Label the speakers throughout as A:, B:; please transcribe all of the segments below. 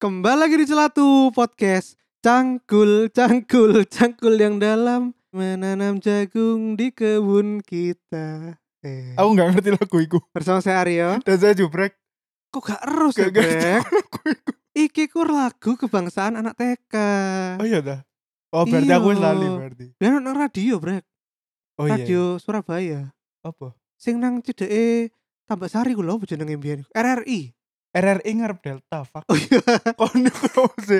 A: Kembali lagi di Celatu Podcast Cangkul, cangkul, cangkul yang dalam Menanam jagung di kebun kita eh.
B: Aku nggak ngerti lagu itu.
A: Bersama saya Aryo
B: Dan saya jubrek.
A: Kok gak erus ya
B: Gak ngerti
A: Greg?
B: lagu itu.
A: Iki kur lagu kebangsaan anak TK
B: Oh iya dah. Oh berarti aku wis
A: Iya.
B: lali berarti.
A: Dan nang radio Brek
B: Oh iya.
A: Radio Surabaya
B: Apa?
A: Sing nang cedeke Tambak Sari ku lho jenenge mbiyen RRI
B: RRI ngarep Delta, fuck.
A: Oh iya
B: Kono apa sih?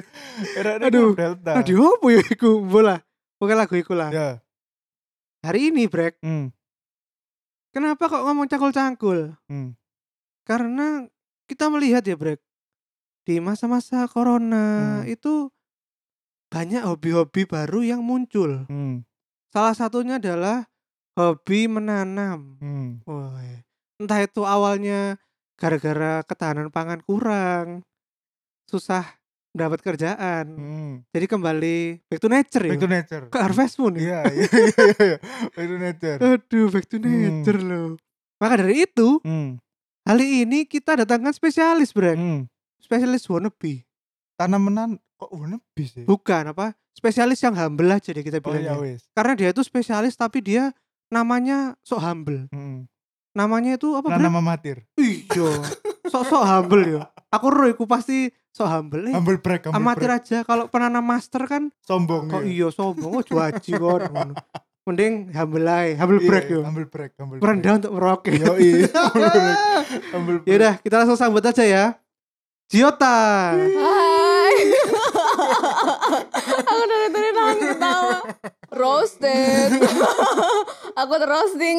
B: RRI
A: Aduh,
B: ngarep Delta.
A: Radio apa ya iku bola Pokoknya lagu iku lah
B: Ya.
A: Hari ini Brek
B: Hmm.
A: Kenapa kok ngomong cangkul-cangkul
B: Hmm.
A: karena kita melihat ya Brek di masa-masa corona
B: Hmm.
A: itu banyak hobi-hobi baru yang muncul
B: Hmm.
A: salah satunya adalah hobi menanam
B: Hmm.
A: Woi. entah itu awalnya gara-gara ketahanan pangan kurang susah mendapat kerjaan
B: Hmm.
A: jadi kembali back to nature
B: Back to
A: ya
B: nature.
A: ke harvest moon ya
B: Iya, iya, iya, iya. Back to nature.
A: aduh back to
B: iya. Hmm.
A: nature loh maka dari itu
B: Hmm.
A: kali ini kita datangkan spesialis Brek
B: Hmm.
A: spesialis wannabe
B: Tanaman kok ya? wannabe sih?
A: bukan apa spesialis yang humble aja deh kita
B: Iya. Oh iya
A: bilangnya
B: wis.
A: karena dia itu spesialis tapi dia namanya sok humble
B: Hmm.
A: namanya itu apa Brad?
B: Nanam amatir.
A: iya sok sok humble ya aku roh iku pasti sok humble eh,
B: Humble break, humble
A: amatir
B: break.
A: aja kalau penanam master kan
B: Sombong.
A: kok
B: iya.
A: iya sombong oh cuaci kon ngono. mending humble aja humble ya?
B: Iya,
A: break yo
B: Humble break, humble break.
A: merendah untuk merokok
B: Yo, iya. Humble break, humble break.
A: ya udah kita langsung sambut aja ya Jiota
C: Hai. aku dari tadi nahan ketawa. Roasted. aku terroasting.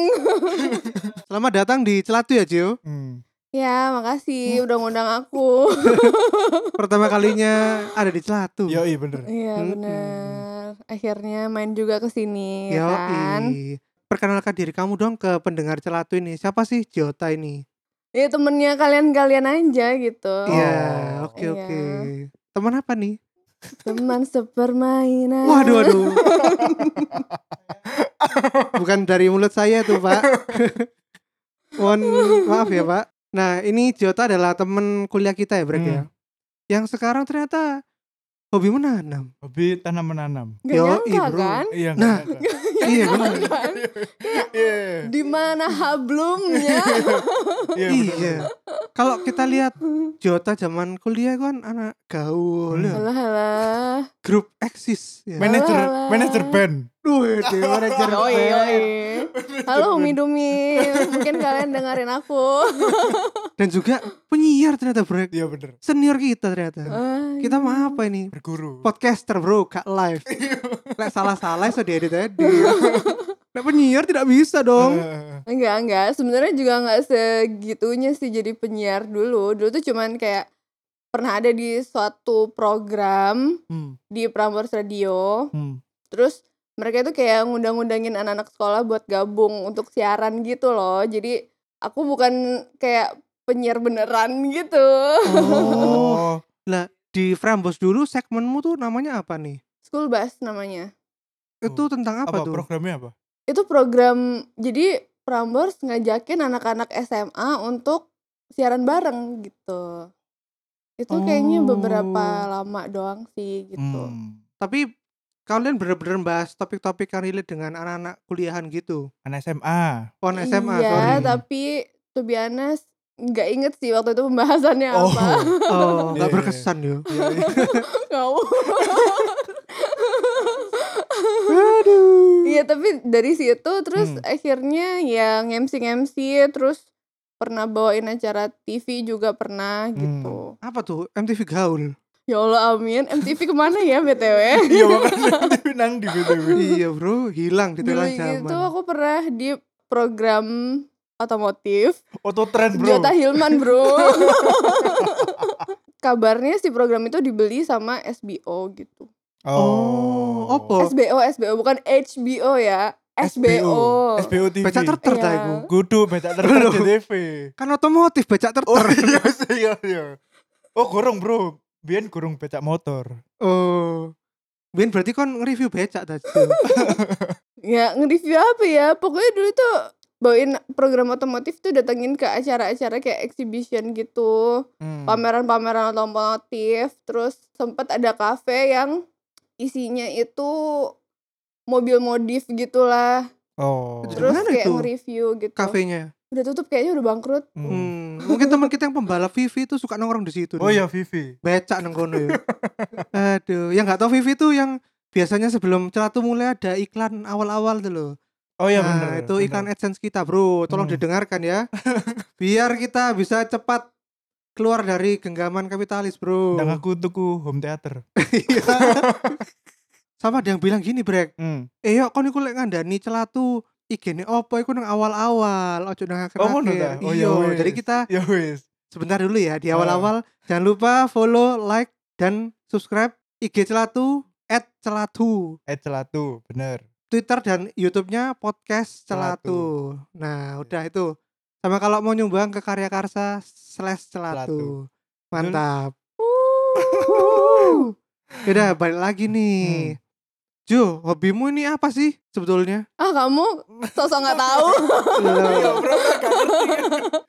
A: selamat datang di Celatu ya Jio
B: Hmm.
C: ya, makasih udah ngundang aku.
A: pertama kalinya ada di Celatu
B: Yo, iya bener.
C: Iya,
A: Mm-mm.
C: bener. Akhirnya main juga ke sini ya kan.
A: Yoi. Perkenalkan diri kamu dong ke pendengar celatu ini. Siapa sih Jota ini?
C: Ya temennya kalian-kalian aja gitu.
A: Iya,
B: Oh.
A: oke oke.
C: Iya.
A: Teman apa nih?
C: Teman sepermainan.
A: Waduh waduh. Bukan dari mulut saya tuh, Pak. Mohon maaf ya, Pak. Nah, ini Jota adalah teman kuliah kita ya, Brek ya. Yang sekarang ternyata hobi menanam.
B: Hobi tanam menanam.
C: Gak
A: Yoi,
C: nyangka
A: bro.
C: kan?
B: Iya.
A: Nah.
B: nggak nyangka.
A: iya, benar.
C: Kan?
B: Iya.
C: Di mana hablumnya?
B: Iya.
A: iya. Kalau kita lihat Jota zaman kuliah kan anak gaul, ya.
C: Halah, halah.
A: grup eksis ya.
B: Manager,
C: Alah.
B: manager band.
A: Duh, ya, dewa Raja
C: Yoi,
A: Rempel.
C: yoi. Halo Umi Dumi, mungkin kalian dengerin aku.
A: Dan juga penyiar ternyata bro
B: Iya bener.
A: Senior kita ternyata
C: Ah,
A: Kita mah apa ini?
B: Berguru.
A: Podcaster bro, gak live Lek salah-salah so diedit edit Lek penyiar tidak bisa dong
B: Eh,
C: Enggak, enggak. Sebenarnya juga enggak segitunya sih jadi penyiar dulu. Dulu tuh cuman kayak pernah ada di suatu program
B: hmm,
C: di Prambors Radio.
B: hmm.
C: Terus mereka itu kayak ngundang-ngundangin anak-anak sekolah buat gabung untuk siaran gitu loh. Jadi aku bukan kayak penyiar beneran gitu.
A: Oh
B: Oh,
A: Lah di Frambos dulu segmenmu tuh namanya apa nih?
C: School bus namanya.
A: Itu tentang apa,
B: Hmm. apa,
A: tuh?
B: programnya apa?
C: itu program jadi Prambors ngajakin anak-anak SMA untuk siaran bareng gitu. Itu kayaknya
A: Oh.
C: beberapa lama doang sih gitu.
B: Hmm.
A: Tapi kalian bener-bener bahas topik-topik yang relate dengan anak-anak kuliahan gitu
B: Anak SMA.
A: Pon SMA
C: iya,
A: sorry
C: tapi to be honest nggak inget sih waktu itu pembahasannya apa.
A: Oh gak
B: Iya, iya.
A: berkesan yo
B: Iya, iya.
C: Kamu.
A: Aduh
C: Iya, tapi dari situ terus
B: Hmm.
C: akhirnya ya MC-MC terus pernah bawain acara TV juga pernah gitu.
B: Hmm.
A: Apa tuh? MTV Gaul
C: Ya Allah amin MTV kemana ya BTW
B: Iya makanya dia nang di BTW.
A: iya bro hilang
C: Dulu
A: di
C: gitu
A: telan
C: itu
A: zaman
C: aku pernah di program otomotif
B: Auto trend bro.
C: Jota Hilman bro Kabarnya si program itu dibeli sama SBO gitu
A: oh opo
C: SBO, SBO bukan HBO ya SBO.
B: SBO TV.
A: Becak terter
C: Iya.
A: ta iku.
B: Kudu becak
A: Loh.
B: terter JTV.
A: Kan otomotif becak
B: Oh
A: terter.
B: iya iya iya. Oh gorong bro. Biyen gorong becak motor.
A: Oh. Bian berarti kon nge-review becak tadi.
C: Ya nge-review apa ya? Pokoknya dulu tuh bawain program otomotif tuh datengin ke acara-acara kayak exhibition gitu,
B: Hmm.
C: pameran-pameran otomotif, terus sempet ada kafe yang isinya itu mobil modif gitulah,
B: Oh.
A: Terus?
C: terus
A: Gimana
C: kayak
A: itu?
C: nge-review gitu.
A: Kafenya.
C: Udah tutup kayaknya udah bangkrut.
B: Hmm.
A: Hmm. Mungkin teman kita yang pembalap Vivi itu suka nongkrong di situ.
B: Oh
A: nih.
B: ya Vivi.
A: Becak nang kono ya. Aduh, yang nggak tahu Vivi tuh yang biasanya sebelum celatu mulai ada iklan awal-awal tuh loh.
B: Oh ya
A: nah,
B: bener.
A: itu
B: bener.
A: iklan AdSense kita, Bro. Tolong
B: Hmm.
A: didengarkan ya. Biar kita bisa cepat keluar dari genggaman kapitalis, Bro.
B: Dan aku tuku home theater.
A: Iya. Sama ada yang bilang gini, Brek.
B: Hmm.
A: Eh, yuk kon iku lek ngandani celatu igene opo iku nang awal-awal, ojo nang akhir.
B: Oh, ngono ta? Oh, Ah. ya wes.
A: jadi kita
B: Ya wis.
A: sebentar dulu ya di awal-awal jangan lupa follow, like dan subscribe IG celatu @celatu.
B: Eh celatu, bener.
A: Twitter dan YouTube-nya podcast celatu.
B: Iya.
A: Nah, udah itu. Sama kalau mau nyumbang ke Karya Karsa slash celatu. Mantap. Udah balik lagi
B: Hmm.
A: nih. Jo, hobimu ini apa sih sebetulnya?
C: Ah kamu sosok nggak tahu.
A: Loh,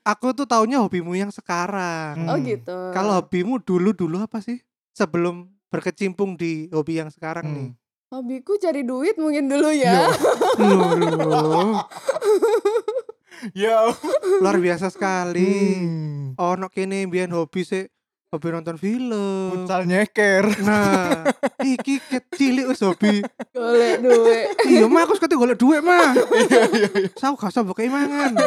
A: aku tuh taunya hobimu yang sekarang.
B: Hmm.
C: Oh gitu.
A: Kalau hobimu dulu-dulu apa sih? Sebelum berkecimpung di hobi yang sekarang
B: Hmm.
A: nih.
C: hobiku cari duit mungkin dulu
B: Iya.
C: ya.
A: Loh, loh,
B: Ya.
A: luar biasa sekali.
B: Hmm.
A: Oh, no kene biyen hobi sih hobi nonton film.
B: Futsal nyeker.
A: Nah, iki kecil wis hobi.
C: Golek duit.
A: Iya, mah aku suka golek duit, mah. Saya gak usah buka imangan.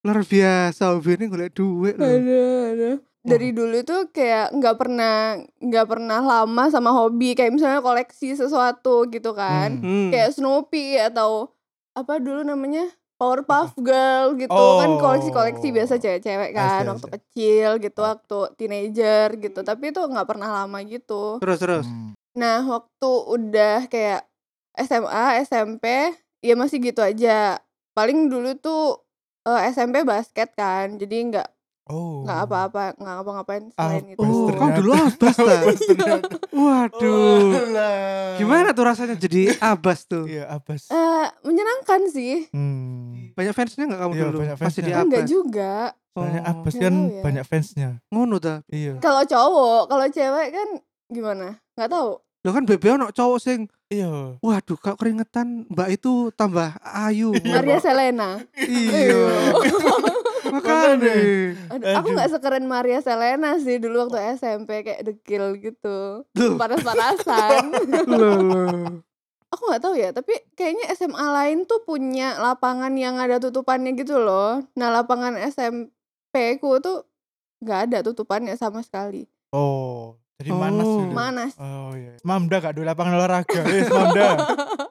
A: Luar biasa hobi ini golek duit loh.
C: Aduh, aduh. Dari dulu tuh kayak nggak pernah nggak pernah lama sama hobi kayak misalnya koleksi sesuatu gitu kan.
A: Hmm.
C: Kayak Snoopy atau apa dulu namanya? Powerpuff Girl gitu kan
B: Oh.
C: koleksi-koleksi biasa cewek-cewek kan
B: Asik,
C: waktu
B: asik.
C: kecil gitu waktu teenager gitu tapi itu nggak pernah lama gitu
A: Terus terus.
B: Hmm.
C: Nah, waktu udah kayak SMA, SMP, ya masih gitu aja. Paling dulu tuh eh, SMP basket kan, jadi nggak
B: Oh.
C: nggak apa-apa, nggak ngapa-ngapain selain itu.
A: Oh,
B: Bastard.
A: kamu dulu abas ta? Waduh. Gimana tuh rasanya jadi abas tuh?
B: Iya, abas.
C: Eh, menyenangkan sih,
B: Hmm.
A: Banyak fansnya nggak kamu
B: Iya,
A: dulu?
B: banyak
A: Pas
B: fansnya.
A: jadi
B: Apa?
C: enggak
A: abas.
C: juga.
B: Soalnya
A: Oh,
B: abas
C: nggak
B: kan
C: tahu ya.
B: banyak fansnya.
A: ngono ta.
B: Iya.
C: Kalau cowok, kalau cewek kan gimana? Nggak tahu.
A: Lo kan BBO ono cowok sing,
B: Iya.
A: waduh kok keringetan, Mbak itu tambah ayu.
B: Iya,
C: Maria
B: Mbak.
C: Selena.
A: iya. Makanya.
B: Makanya.
C: Aduh, aku
B: Aduh.
C: nggak sekeren Maria Selena sih dulu waktu SMP kayak dekil gitu,
A: Duh,
C: panas-panasan.
A: lo lo.
C: aku nggak tahu ya tapi kayaknya SMA lain tuh punya lapangan yang ada tutupannya gitu loh nah lapangan SMP ku tuh nggak ada tutupannya sama sekali
B: Oh, jadi
A: Oh.
B: manas dulu.
C: manas
B: Oh iya. Mamda gak ada lapangan olahraga. Eh, Mamda.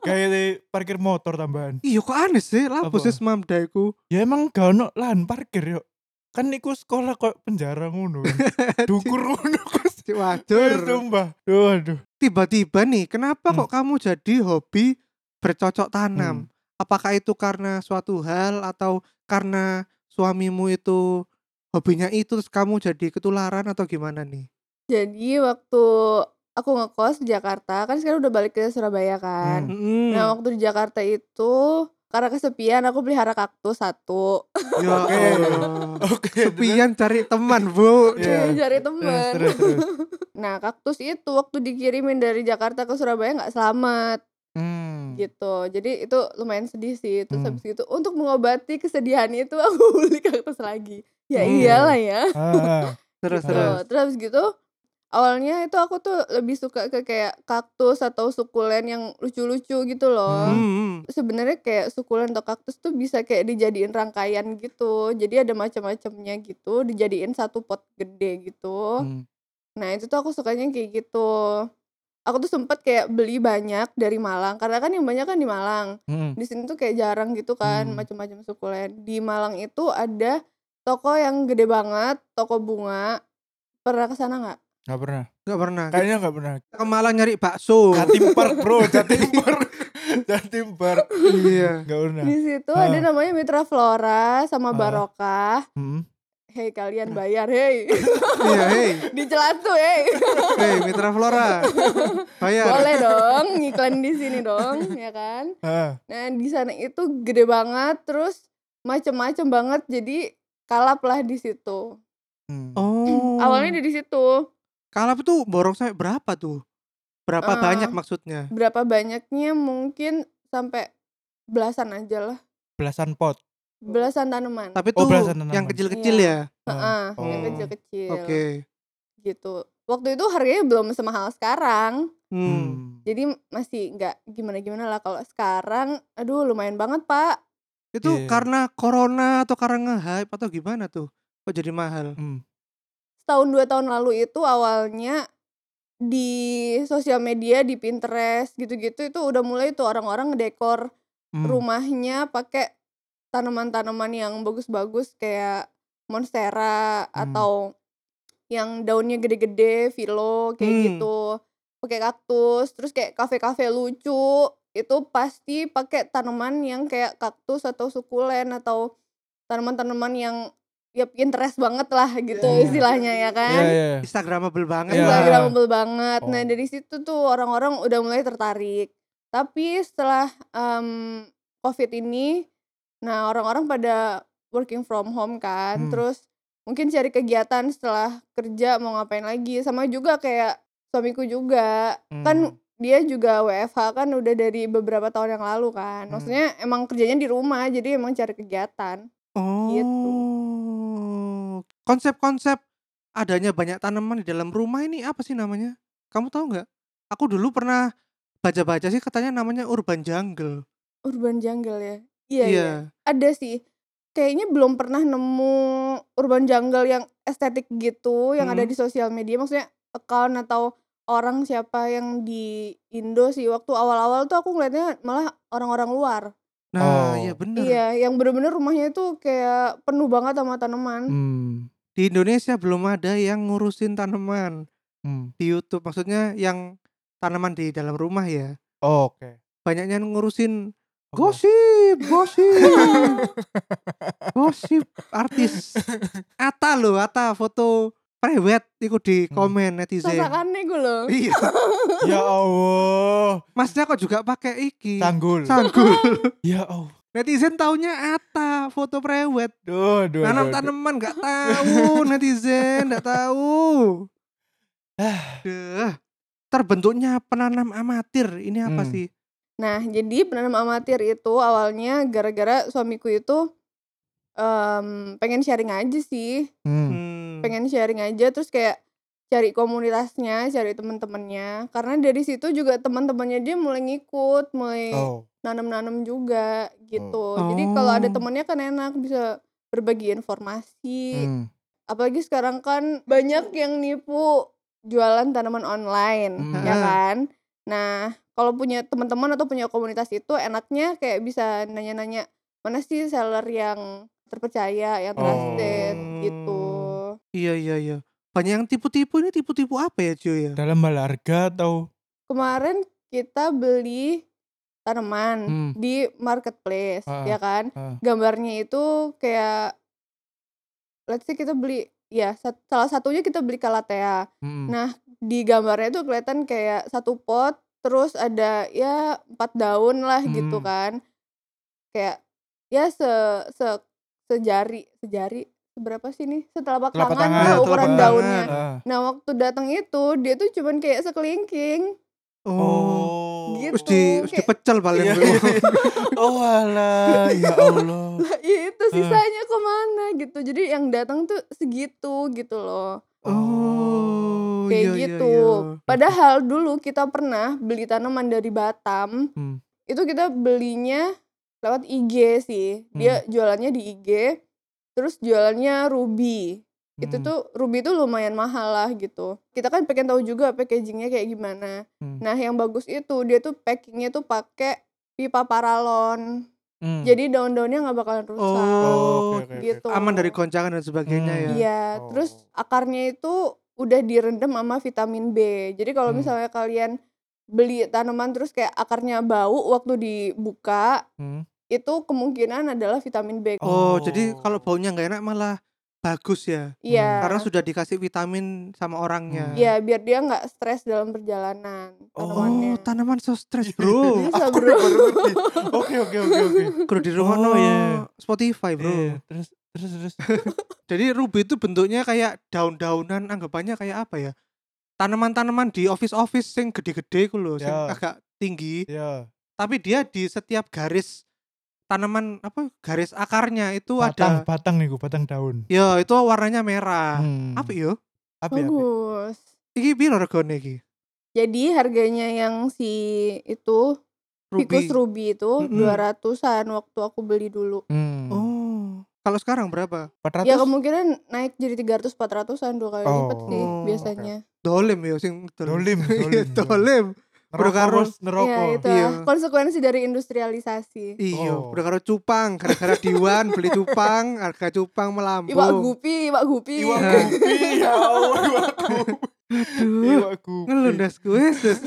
B: Kayak di parkir motor tambahan.
A: Iya kok aneh sih, lapo
B: Apa?
A: sih semam daiku.
B: Ya emang gak ono lahan parkir yuk. Kan iku sekolah kok penjara ngono. Dukur ngono. Gus.
A: Cik
B: Eh,
A: Wajar.
B: Sumpah. Duh, aduh.
A: Tiba-tiba nih, kenapa
B: Hmm.
A: kok kamu jadi hobi bercocok tanam? Apakah itu karena suatu hal atau karena suamimu itu hobinya itu terus kamu jadi ketularan atau gimana nih?
C: jadi waktu aku ngekos di Jakarta kan sekarang udah balik ke Surabaya kan
A: Mm.
B: Hmm.
C: nah waktu di Jakarta itu karena kesepian aku pelihara kaktus satu
A: Ya
B: Oke.
A: Allah.
B: Oke.
A: Sepian cari teman, Bu.
B: Iya.
C: cari
B: Terus,
C: temen
B: ya. terus, terus.
C: nah kaktus itu waktu dikirimin dari Jakarta ke Surabaya nggak selamat
B: Hmm.
C: gitu jadi itu lumayan sedih sih terus
B: Hmm.
C: habis itu untuk mengobati kesedihan itu aku beli kaktus lagi ya
A: Hmm.
C: iyalah ya
B: Ah,
A: Terus terus.
B: Gitu.
C: Tuh, terus habis gitu awalnya itu aku tuh lebih suka ke kayak kaktus atau sukulen yang lucu-lucu gitu loh
A: Hmm, hmm.
C: sebenarnya kayak sukulen atau kaktus tuh bisa kayak dijadiin rangkaian gitu jadi ada macam-macamnya gitu dijadiin satu pot gede gitu
B: hmm.
C: Nah itu tuh aku sukanya kayak gitu. Aku tuh sempet kayak beli banyak dari Malang karena kan yang banyak kan di Malang.
B: Hmm.
C: Di sini tuh kayak jarang gitu kan
B: Hmm.
C: macam-macam sukulen. Di Malang itu ada toko yang gede banget, toko bunga. Pernah ke sana nggak?
B: Gak pernah.
A: Gak pernah.
B: Kayaknya gak pernah.
A: Kita ke Malang nyari bakso.
B: Jatim Park bro, Jatim Park. Jatim Bar
A: iya
B: nggak pernah
C: Di situ
B: Ah.
C: ada namanya Mitra Flora sama
B: Ah.
C: Barokah.
B: Hmm.
C: Hei kalian
B: Nah.
C: bayar, hei.
A: iya hey
C: Dicelat tuh, hei.
A: hey Mitra Flora bayar
C: Boleh dong, iklan di sini dong, ya kan?
B: Ah,
C: Nah, di sana itu gede banget, terus macem-macem banget, jadi kalap lah di situ.
B: hmm.
A: oh
C: Awalnya dari situ.
A: kalap tuh borong sampai berapa tuh berapa
C: Ah.
A: banyak maksudnya
C: Berapa banyaknya mungkin sampai belasan aja lah.
B: belasan pot
C: Belasan tanaman.
A: tapi
B: Oh,
A: tuh
B: belasan
A: yang
B: tanaman.
A: kecil-kecil
C: Iya, Heeh,
B: Oh.
C: yang
A: Oh.
C: kecil-kecil
A: ya oke
C: gitu. Waktu itu harganya belum semahal sekarang.
A: hmm.
B: Hmm.
C: Jadi masih nggak gimana-gimana lah kalau sekarang. Aduh, lumayan banget, Pak.
A: itu
B: Iya.
A: karena corona atau karena nge-hype atau gimana tuh kok jadi mahal
B: Hmm.
C: Setahun dua tahun lalu itu awalnya di sosial media, di Pinterest gitu-gitu itu udah mulai tuh orang-orang ngedekor
B: Hmm.
C: rumahnya pakai tanaman-tanaman yang bagus-bagus kayak monstera
B: Hmm.
C: atau yang daunnya gede-gede, vilo kayak
A: Hmm.
C: gitu. Pakai kaktus, terus kayak kafe-kafe lucu itu pasti pakai tanaman yang kayak kaktus atau sukulen atau tanaman-tanaman yang ya interest banget lah gitu
B: Iya.
C: istilahnya ya kan.
B: Iya, iya.
A: instagramable banget
B: Iya.
A: Mbak.
C: Instagramable banget. Nah
B: Oh.
C: dari situ tuh orang-orang udah mulai tertarik. Tapi setelah em, COVID ini, nah orang-orang pada working from home kan,
B: Hmm.
C: terus mungkin cari kegiatan setelah kerja mau ngapain lagi. Sama juga kayak suamiku juga, kan
B: Hmm.
C: dia juga WFH kan udah dari beberapa tahun yang lalu kan.
B: Hmm.
C: Maksudnya emang kerjanya di rumah, jadi emang cari kegiatan.
A: Oh.
C: Gitu.
A: Konsep-konsep adanya banyak tanaman di dalam rumah ini apa sih namanya? Kamu tahu nggak? Aku dulu pernah baca-baca sih katanya namanya urban jungle.
C: Urban jungle ya. Iya. iya. ada sih kayaknya belum pernah nemu urban jungle yang estetik gitu yang ada
A: Hmm.
C: di sosial media maksudnya account atau orang siapa yang di Indo sih waktu awal-awal tuh aku ngeliatnya malah orang-orang luar
A: Nah,
B: Oh.
A: iya bener.
C: iya yang bener-bener rumahnya itu kayak penuh banget sama tanaman
B: Hmm.
A: Di Indonesia belum ada yang ngurusin tanaman
B: Hmm.
A: di YouTube. Maksudnya yang tanaman di dalam rumah ya.
B: Oh, Oke.
A: Banyaknya ngurusin
B: Apa?
A: gosip, gosip. gosip artis Ata loh, Ata foto prewed itu di
B: Hmm.
A: komen netizen.
C: sasakannya gue loh
A: Iya.
B: ya Allah.
A: Masnya kok juga pakai iki?
B: Tanggul.
A: Sanggul.
B: ya Allah.
A: netizen taunya Ata foto prewed.
B: Duh, duh,
A: Nanam
B: duh, duh.
A: tanaman nggak tahu netizen nggak tahu. Duh. Terbentuknya penanam amatir ini apa
B: Hmm.
A: sih?
C: Nah, jadi penanam amatir itu awalnya gara-gara suamiku itu em, pengen sharing aja sih.
B: Hmm.
A: Hmm.
C: pengen sharing aja terus kayak cari komunitasnya cari temen-temennya karena dari situ juga teman-temannya dia mulai ngikut mulai
B: Oh.
C: nanam-nanam juga gitu
A: Oh.
C: jadi kalau ada
A: Oh.
C: temennya kan enak bisa berbagi informasi
B: Hmm.
C: apalagi sekarang kan banyak yang nipu jualan tanaman online
B: Hmm.
C: ya kan nah kalau punya teman-teman atau punya komunitas itu enaknya kayak bisa nanya-nanya mana sih seller yang terpercaya yang trusted
A: Oh.
C: gitu
A: Iya iya iya. Banyak yang tipu-tipu ini tipu-tipu apa ya cuy ya?
B: Dalam hal harga atau
C: kemarin kita beli tanaman
B: hmm.
C: di marketplace
B: Ah,
C: ya kan
B: ah.
C: gambarnya itu kayak let's say kita beli ya sat- salah satunya kita beli kalatea
B: Hmm.
C: Nah, di gambarnya itu kelihatan kayak satu pot terus ada ya empat daun lah gitu
B: Hmm.
C: kan kayak ya se se sejari sejari berapa sih nih setelapak
B: Telapak
C: tangan,
B: tangan,
C: lah
A: telapak
C: ukuran
A: tangan.
C: daunnya
B: Ah.
C: nah waktu datang itu dia tuh cuman kayak sekelingking
A: Oh.
B: Oh.
C: Gitu.
A: Terus di, terus
C: Kayak-
A: dipecel paling.
B: Iya, iya, iya. oh alah, ya Allah.
C: lah ya itu
B: Ah.
C: sisanya kemana gitu jadi yang datang tuh segitu gitu loh
A: Oh,
C: kayak
A: iya, iya,
C: gitu.
A: iya.
C: Padahal dulu kita pernah beli tanaman dari Batam,
B: Hmm.
C: itu kita belinya lewat IG sih.
A: Hmm.
C: Dia jualannya di IG, terus jualannya ruby. Itu
B: Hmm.
C: tuh ruby tuh lumayan mahal lah gitu. Kita kan pengen tahu juga packagingnya kayak gimana.
B: Hmm.
C: Nah yang bagus itu dia tuh packingnya tuh pakai pipa paralon.
B: Hmm.
C: Jadi daun-daunnya nggak bakalan rusak.
A: Oh,
B: oke, oke, oke.
C: gitu.
A: aman dari goncangan dan sebagainya
B: Hmm.
A: ya.
C: Iya,
B: Oh.
C: terus akarnya itu udah direndam sama vitamin B. Jadi kalau
B: Hmm.
C: misalnya kalian beli tanaman terus kayak akarnya bau waktu dibuka
B: Hmm.
C: itu kemungkinan adalah vitamin B.
A: Oh,
B: Oh.
A: jadi kalau baunya nggak enak malah bagus ya.
C: Iya.
A: Karena sudah dikasih vitamin sama orangnya.
C: Iya, biar dia nggak stres dalam perjalanan
A: Oh,
C: tanamannya.
A: tanaman so stress, Bro.
C: Bisa,
B: Aku
C: bro.
B: baru ngerti. Oke oke oke oke.
A: Kudu di rumah no ya.
B: Oh, iya.
A: Spotify, Bro.
B: Iya, Terus terus terus.
A: Jadi ruby itu bentuknya kayak daun-daunan, anggapannya kayak apa ya? Tanaman-tanaman di office-office sing gede-gede ku lho, sing
B: Ya.
A: agak tinggi,
B: Ya.
A: tapi dia di setiap garis tanaman apa garis akarnya itu
B: Batang
A: ada
B: batang nih batang daun.
A: ya itu warnanya merah.
B: Hmm.
A: Apa yo?
B: Apa ya?
C: Bagus.
A: Iki piro regane iki?
C: Jadi harganya yang si itu Ficus
A: Ruby.
C: Ruby itu
A: Mm-mm.
C: 200-an waktu aku beli dulu.
B: Hmm.
A: Oh. Kalau sekarang berapa?
B: 400.
C: Ya kemungkinan naik jadi 300 400-an dua kali
B: Oh.
C: lipat sih
A: Oh,
C: biasanya.
A: Dolim ya sing
B: Dolim,
A: Iya,
B: dolim,
A: dolim. Bro
B: Ngerokok,
A: Karo.
B: Bos, ngerokok.
C: Ya itu
A: Iya.
C: konsekuensi dari industrialisasi.
A: Iya,
B: Oh.
A: udah karo cupang, gara-gara diwan beli cupang, harga cupang melambung.
C: Iwak gupi, iwak gupi.
B: Iwak kopi, ya Allah, iwak kopi.
C: Iya,
A: Aduh.
B: Iwak kopi.
A: ngelundas gue sus.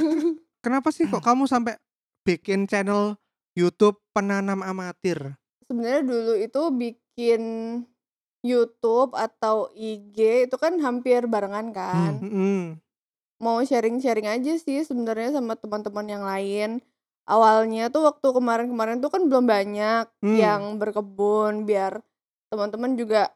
A: kenapa sih kok kamu sampai bikin channel YouTube penanam amatir
C: sebenarnya dulu itu bikin YouTube atau IG itu kan hampir barengan kan.
B: Hmm.
A: Hmm. Mm-mm.
C: Mau sharing-sharing aja sih sebenarnya sama teman-teman yang lain. Awalnya tuh waktu kemarin-kemarin tuh kan belum banyak
A: Hmm.
C: yang berkebun biar teman-teman juga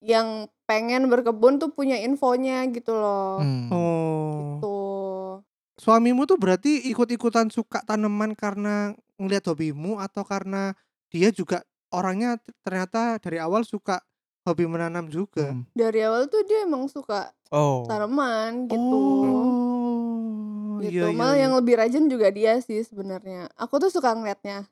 C: yang pengen berkebun tuh punya infonya gitu loh. Gitu.
B: Hmm.
A: oh
C: Tuh.
A: suamimu tuh berarti ikut-ikutan suka tanaman karena ngeliat hobimu atau karena dia juga orangnya t- ternyata dari awal suka hobi menanam juga
B: Hmm.
C: Dari awal tuh dia emang suka
B: Oh.
C: tanaman gitu.
A: oh
C: gitu. Malah yang lebih rajin juga dia sih sebenarnya. Aku tuh suka ngeliatnya.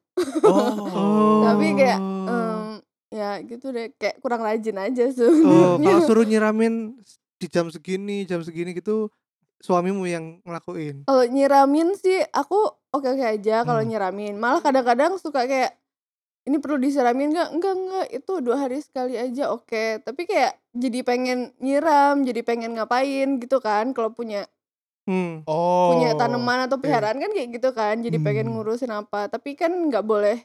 B: Oh.
C: Tapi kayak,
A: iya. oh
C: Em, ya gitu deh, kayak kurang rajin aja
A: Oh,
C: sebenarnya.
A: kalau suruh nyiramin di jam segini jam segini gitu suamimu yang ngelakuin
C: Kalau nyiramin sih aku oke-oke aja kalau
B: Hmm.
C: nyiramin. Malah kadang-kadang suka kayak ini perlu disiramin nggak? Enggak enggak itu dua hari sekali aja oke. Tapi kayak jadi pengen nyiram, jadi pengen ngapain gitu kan? Kalau punya
A: Hmm.
B: Oh.
C: punya tanaman atau
A: iya.
C: peliharaan kan kayak gitu kan? Jadi pengen
B: Hmm.
C: ngurusin apa? Tapi kan nggak boleh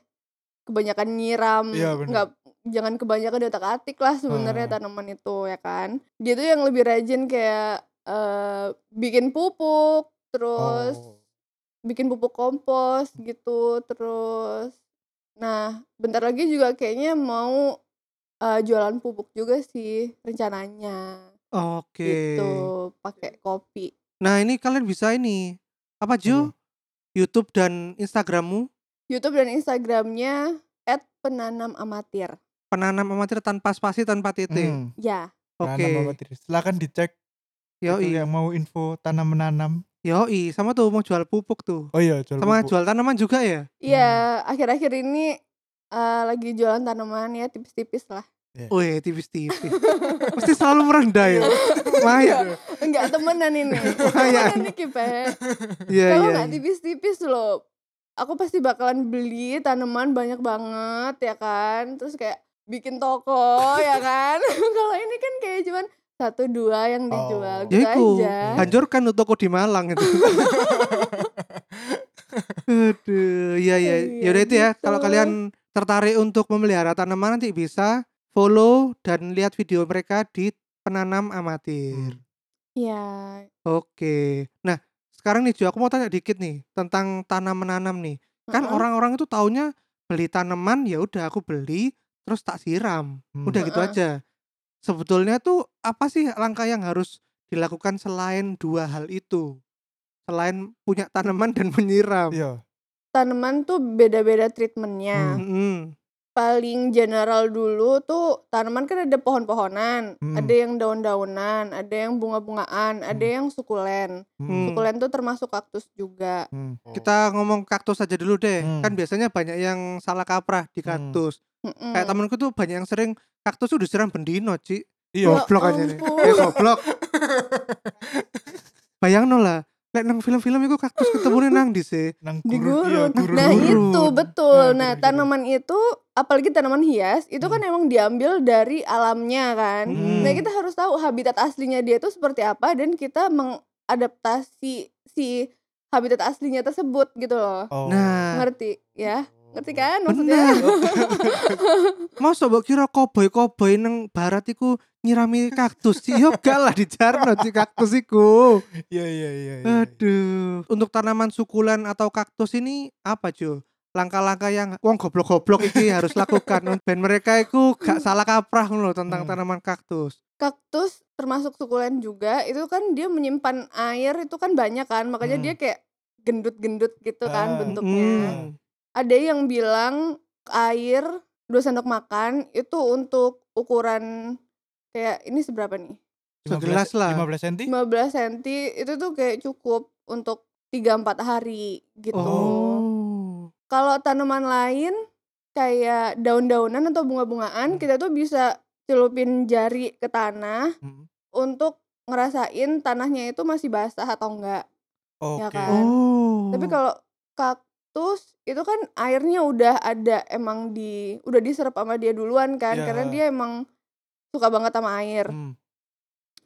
C: kebanyakan nyiram,
B: Iya, bener.
C: nggak jangan kebanyakan detak atik lah sebenarnya
B: Ah.
C: tanaman itu ya kan? Dia tuh yang lebih rajin kayak eh, bikin pupuk, terus
B: Oh.
C: bikin pupuk kompos gitu terus nah bentar lagi juga kayaknya mau eh, jualan pupuk juga sih rencananya
A: Oke.
C: gitu pakai kopi
A: Nah ini kalian bisa ini apa Jo? YouTube dan Instagrammu
C: YouTube dan Instagramnya penanam amatir
A: penanam amatir tanpa spasi tanpa titik.
B: Hmm.
C: ya
A: Oke.
B: Menanam apa tidak? Silakan dicek.
A: Yoi,
B: Itu yang mau info tanam menanam.
A: yoi, sama tuh mau jual pupuk tuh.
B: Oh iya, jual
A: Sama
B: pupuk.
A: jual tanaman juga ya?
C: iya akhir-akhir ini eh, lagi jualan tanaman ya tipis-tipis lah
A: Wih, tipis-tipis. Pasti selalu merendah ya.
C: Iya.
A: Maya.
C: enggak temenan ini
A: Lumayan.
C: temenan nih Kipe
A: Ah, Iya,
C: kalau
A: iya.
C: nggak tipis-tipis loh aku pasti bakalan beli tanaman banyak banget ya kan terus kayak bikin toko ya kan kalau ini kan kayak cuman satu dua yang dijual
B: Oh.
C: gitu
A: Ya iku.
C: aja
A: Hancurkan tuh toko di Malang itu. Aduh, iya iya.
C: Iya,
A: Ya udah itu ya.
C: gitu.
A: Kalau kalian tertarik untuk memelihara tanaman nanti bisa follow dan lihat video mereka di penanam amatir.
B: Hmm.
C: ya
A: Oke. Nah, sekarang nih Jo, aku mau tanya dikit nih tentang tanam menanam nih. Kan
C: Heeh.
A: orang-orang itu taunya beli tanaman ya udah aku beli terus tak siram.
B: Hmm.
A: Udah gitu
C: Heeh.
A: aja. Sebetulnya tuh apa sih langkah yang harus dilakukan selain dua hal itu? Selain punya tanaman dan menyiram.
B: Iya.
C: tanaman tuh beda-beda treatmentnya
A: Mm-mm.
C: paling general dulu tuh tanaman kan ada pohon-pohonan
B: Hmm.
C: ada yang daun-daunan ada yang bunga-bungaan ada yang sukulen
A: Hmm.
C: sukulen tuh termasuk kaktus juga
B: Hmm.
A: Kita ngomong kaktus aja dulu deh.
B: Hmm.
A: Kan biasanya banyak yang salah kaprah di
B: Hmm.
A: kaktus.
C: Mm-mm.
A: Kayak temenku tuh banyak yang sering kaktus tuh disiram bendino, Ci.
B: Iya.
C: Ya
A: goblok aja nih.
C: ampun.
A: Eh goblok. Bayang lah, lek nang film-film iku kaktus ketemu nang di sih.
B: Nang
C: di
B: gurun, iya,
C: gurun.
B: gurun.
C: Nah
A: Gurun.
C: itu betul. Nah
B: Nah, gurun-gurun.
C: tanaman itu, apalagi tanaman hias, itu kan emang diambil dari alamnya kan.
A: Hmm.
C: Nah kita harus tahu habitat aslinya dia itu seperti apa dan kita mengadaptasi si habitat aslinya tersebut gitu loh.
B: Oh.
A: Nah,
C: Ngerti ya? Ngerti kan maksudnya?
A: bener. Masa mbok kira koboi-koboi nang barat iku nyirami kaktus? Iya gak lah di jarno di kaktus iku.
B: Iya iya iya. iya.
A: Aduh. Untuk tanaman sukulen atau kaktus ini apa cuy? Langkah-langkah yang wong goblok-goblok iki harus lakukan ben mereka itu gak salah kaprah loh tentang
B: Hmm.
A: tanaman kaktus.
C: Kaktus termasuk sukulen juga itu kan dia menyimpan air itu kan banyak kan makanya
B: Hmm.
C: dia kayak gendut-gendut gitu
B: Ah,
C: kan bentuknya.
A: Hmm.
C: Ada yang bilang air 2 sendok makan itu untuk ukuran kayak ini seberapa nih?
B: 15
A: Segelas lah.
B: 15 cm?
C: 15 cm itu tuh kayak cukup untuk 3-4 hari gitu.
A: Oh.
C: Kalau tanaman lain kayak daun-daunan atau
B: Hmm.
C: bunga-bungaan kita tuh bisa celupin jari ke tanah
B: Hmm.
C: untuk ngerasain tanahnya itu masih basah atau enggak.
B: Oke.
C: Ya kan?
A: Oh.
C: Tapi
B: Hmm.
C: kalau kaktus itu kan airnya udah ada emang di udah diserap sama dia duluan kan
B: Ya.
C: karena dia emang suka banget sama air.
B: Hmm.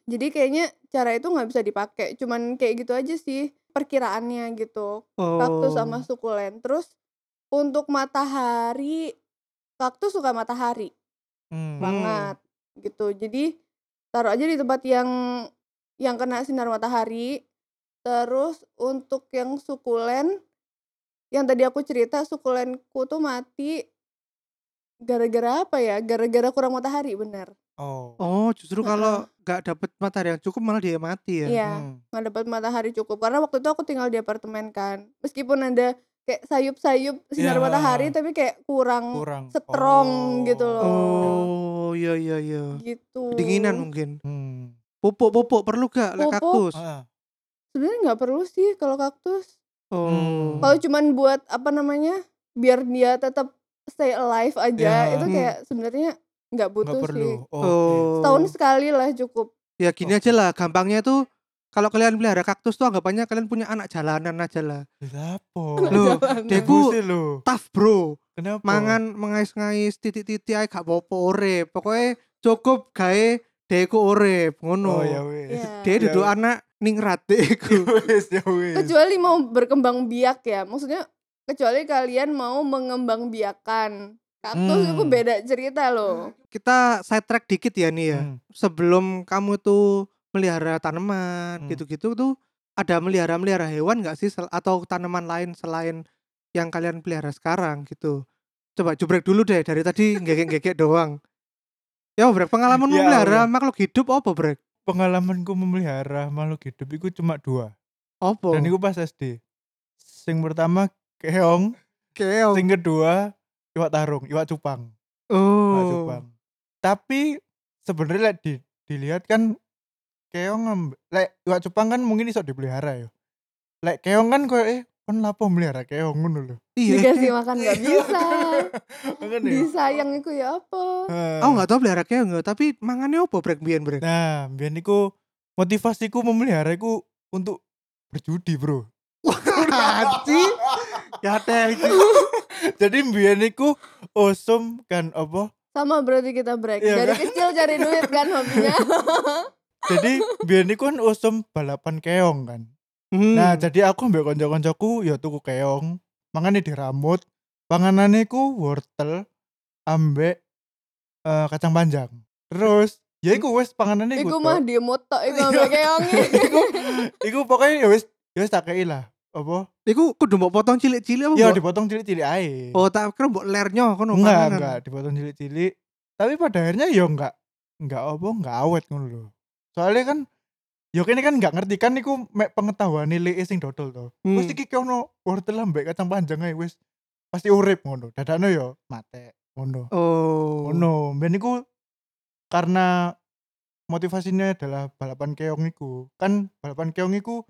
C: Jadi kayaknya cara itu nggak bisa dipakai. Cuman kayak gitu aja sih perkiraannya gitu. Kaktus
A: Oh.
C: sama sukulen. Terus untuk matahari kaktus suka matahari
B: Hmm.
A: Bang.
C: banget gitu. Jadi taruh aja di tempat yang yang kena sinar matahari. Terus untuk yang sukulen yang tadi aku cerita sukulenku tuh mati gara-gara apa ya? Gara-gara kurang matahari bener.
B: Oh.
A: Oh, justru kalau gak dapet matahari yang cukup malah dia mati ya.
C: Iya.
B: Hmm.
C: nggak dapat matahari cukup karena waktu itu aku tinggal di apartemen kan meskipun ada kayak sayup-sayup sinar
B: Ya.
C: matahari tapi kayak kurang
B: Kurang.
C: strong
B: Oh.
C: gitu loh.
A: Oh, iya iya iya.
C: gitu
A: Kedinginan um. mungkin.
B: Hmm.
A: Pupuk-pupuk perlu gak lek
C: Pupuk.
A: kaktus?
B: Ah.
C: sebenarnya nggak perlu sih kalau kaktus
A: Oh.
C: kalau cuman buat apa namanya biar dia tetap stay alive aja
B: Ya.
C: itu
A: Hmm.
C: kayak sebenarnya nggak butuh
B: Nggak perlu.
C: sih
B: Oh.
A: Oh.
C: setahun sekali lah cukup
A: Ya gini aja lah, gampangnya tuh kalau kalian pelihara kaktus tuh anggapannya kalian punya anak jalanan aja lah.
B: Kenapa?
A: Loh, Deku
B: sih lo.
A: tough bro,
B: Kenapa?
A: mangan mengais-ngais titik-titik ae gak apa-apa urip. Pokoknya cukup gawe deku urip ngono.
B: Oh ya wes.
C: ya.
A: Dia duduk
B: Ya.
A: anak ningrat deku.
B: Wes ya wes.
C: kecuali mau berkembang biak ya maksudnya kecuali kalian mau mengembang biakan kaktus
B: Hmm.
C: itu beda cerita loh
A: Kita side track dikit ya nih ya.
B: Hmm.
A: Sebelum kamu tuh melihara tanaman
B: Hmm.
A: gitu-gitu tuh ada melihara-melihara hewan gak sih Sel- atau tanaman lain selain yang kalian pelihara sekarang gitu. Coba jubrek dulu deh dari tadi ngekek-ngekek doang. Ya brek pengalaman
B: Ya
A: melihara
B: Allah.
A: makhluk hidup apa brek?
B: Pengalamanku memelihara makhluk hidup itu cuma dua.
A: Apa?
B: Dan itu pas SD. Sing pertama keong,
A: keong.
B: sing kedua iwak tarung, iwak cupang, iwak
A: Oh.
B: cupang. Tapi sebenarnya lek di- dilihat kan keong ngamb- lek iwak cupang kan mungkin iso dipelihara ya. Lek keong kan koyo eh kon lapo melihara keong ngono lho.
A: Iya.
C: dikasih makan nggak bisa
B: Ngono ya.
C: disayang itu ya apa
B: Eh,
A: Aku Oh, nggak tahu pelihara keong nggak, tapi mangannya apa brek biyen brek?
B: Nah, biar niku motivasiku memelihara iku untuk berjudi, Bro.
A: Hati. Ya teh.
B: Jadi biar niku osum kan apa?
C: sama berarti kita break
B: Iya
C: dari
B: kan?
C: kecil cari duit kan hobinya
B: Jadi biar niku kan osum balapan keong kan.
C: Hmm.
B: Nah,
A: Hmm.
B: jadi aku ambek kanca-kancaku ya tuku keong, mangane diramut, panganane ku wortel ambek eh, kacang panjang. Terus ya iku wis panganane
C: iku
B: iku.
C: mah
B: tok.
C: di moto iku
A: Iya.
C: e. sama keongnya
B: Iku pokoknya ya wis ya wis tak kei lah. Apa?
A: Iku kudu mbok potong cilik-cilik apa?
B: Ya
A: mbok-
B: dipotong cilik-cilik ae.
A: Oh tak kira mbok lernya kono
B: enggak
A: panganan.
B: enggak dipotong cilik-cilik tapi pada akhirnya ya enggak enggak apa enggak awet ngono lho soalnya kan yo kene kan enggak ngerti kan niku mek pengetahuan nilai sing dodol to
A: Hmm.
B: wis iki kono wortel ambek kacang panjang ae wis pasti urip ngono dadane yo mate ngono
A: Oh.
B: ngono ben niku karena motivasinya adalah balapan keong iku kan balapan keong iku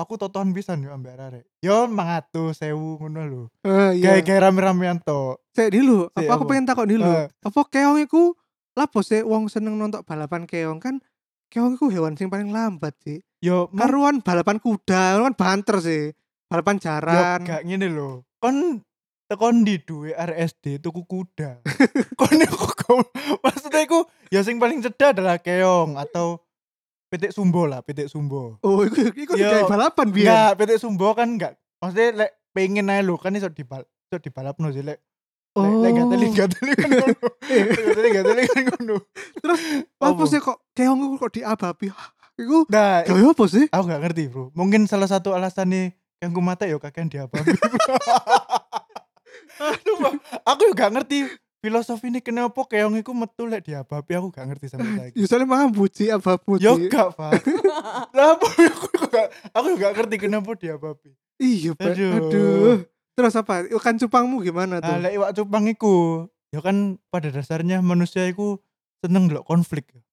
B: aku totohan pisan yo ambek arek yo mangatus sewu ngono lho
A: Eh, iya.
B: kayak kayak rame-ramean to
A: Sik dulu,
B: Sik,
A: apa aku
B: apa?
A: pengen takon dulu.
B: Eh.
A: Apa keong iku lapo sih wong seneng nonton balapan keong kan? Keong iku hewan sing paling lambat sih.
B: yo
A: Karuan balapan kuda, kan banter sih. Balapan jaran.
B: Yo, gak ngene lho. Kon tekon di duwe RSD tuku kuda. kon aku maksudnya aku ya sing paling cedha adalah keong atau pitik sumbo lah pitik sumbo
A: Oh, iku iku
B: Yo.
A: kayak balapan biar.
B: enggak pitik sumbo kan enggak maksudnya lek pengen aja lo kan iso dibal iso dibalapno sih lek lek-
A: Oh.
B: lek gak teli gak teli kan ngono gak teli gak teli kan ngono
A: Apa
B: Apa?
A: sih kok keong iku kok diababi? Iku
B: nah
A: gaya apa sih?
B: aku gak ngerti bro mungkin salah satu alasannya yang ku mata ya kakek diapa aduh Bang. aku juga gak ngerti filosofi ini kenapa keong iku metu lek diababi aku gak ngerti sampai saiki
A: Yusale mah buci ababu.
B: yo gak pak lah apa ya, aku juga aku juga gak ngerti kenapa diababi
A: Iya, Pak.
B: Aduh.
A: Aduh. Terus apa? Ikan cupangmu gimana
B: nah,
A: tuh?
B: lek iwak cupang iku ya kan pada dasarnya manusia iku seneng delok konflik ya.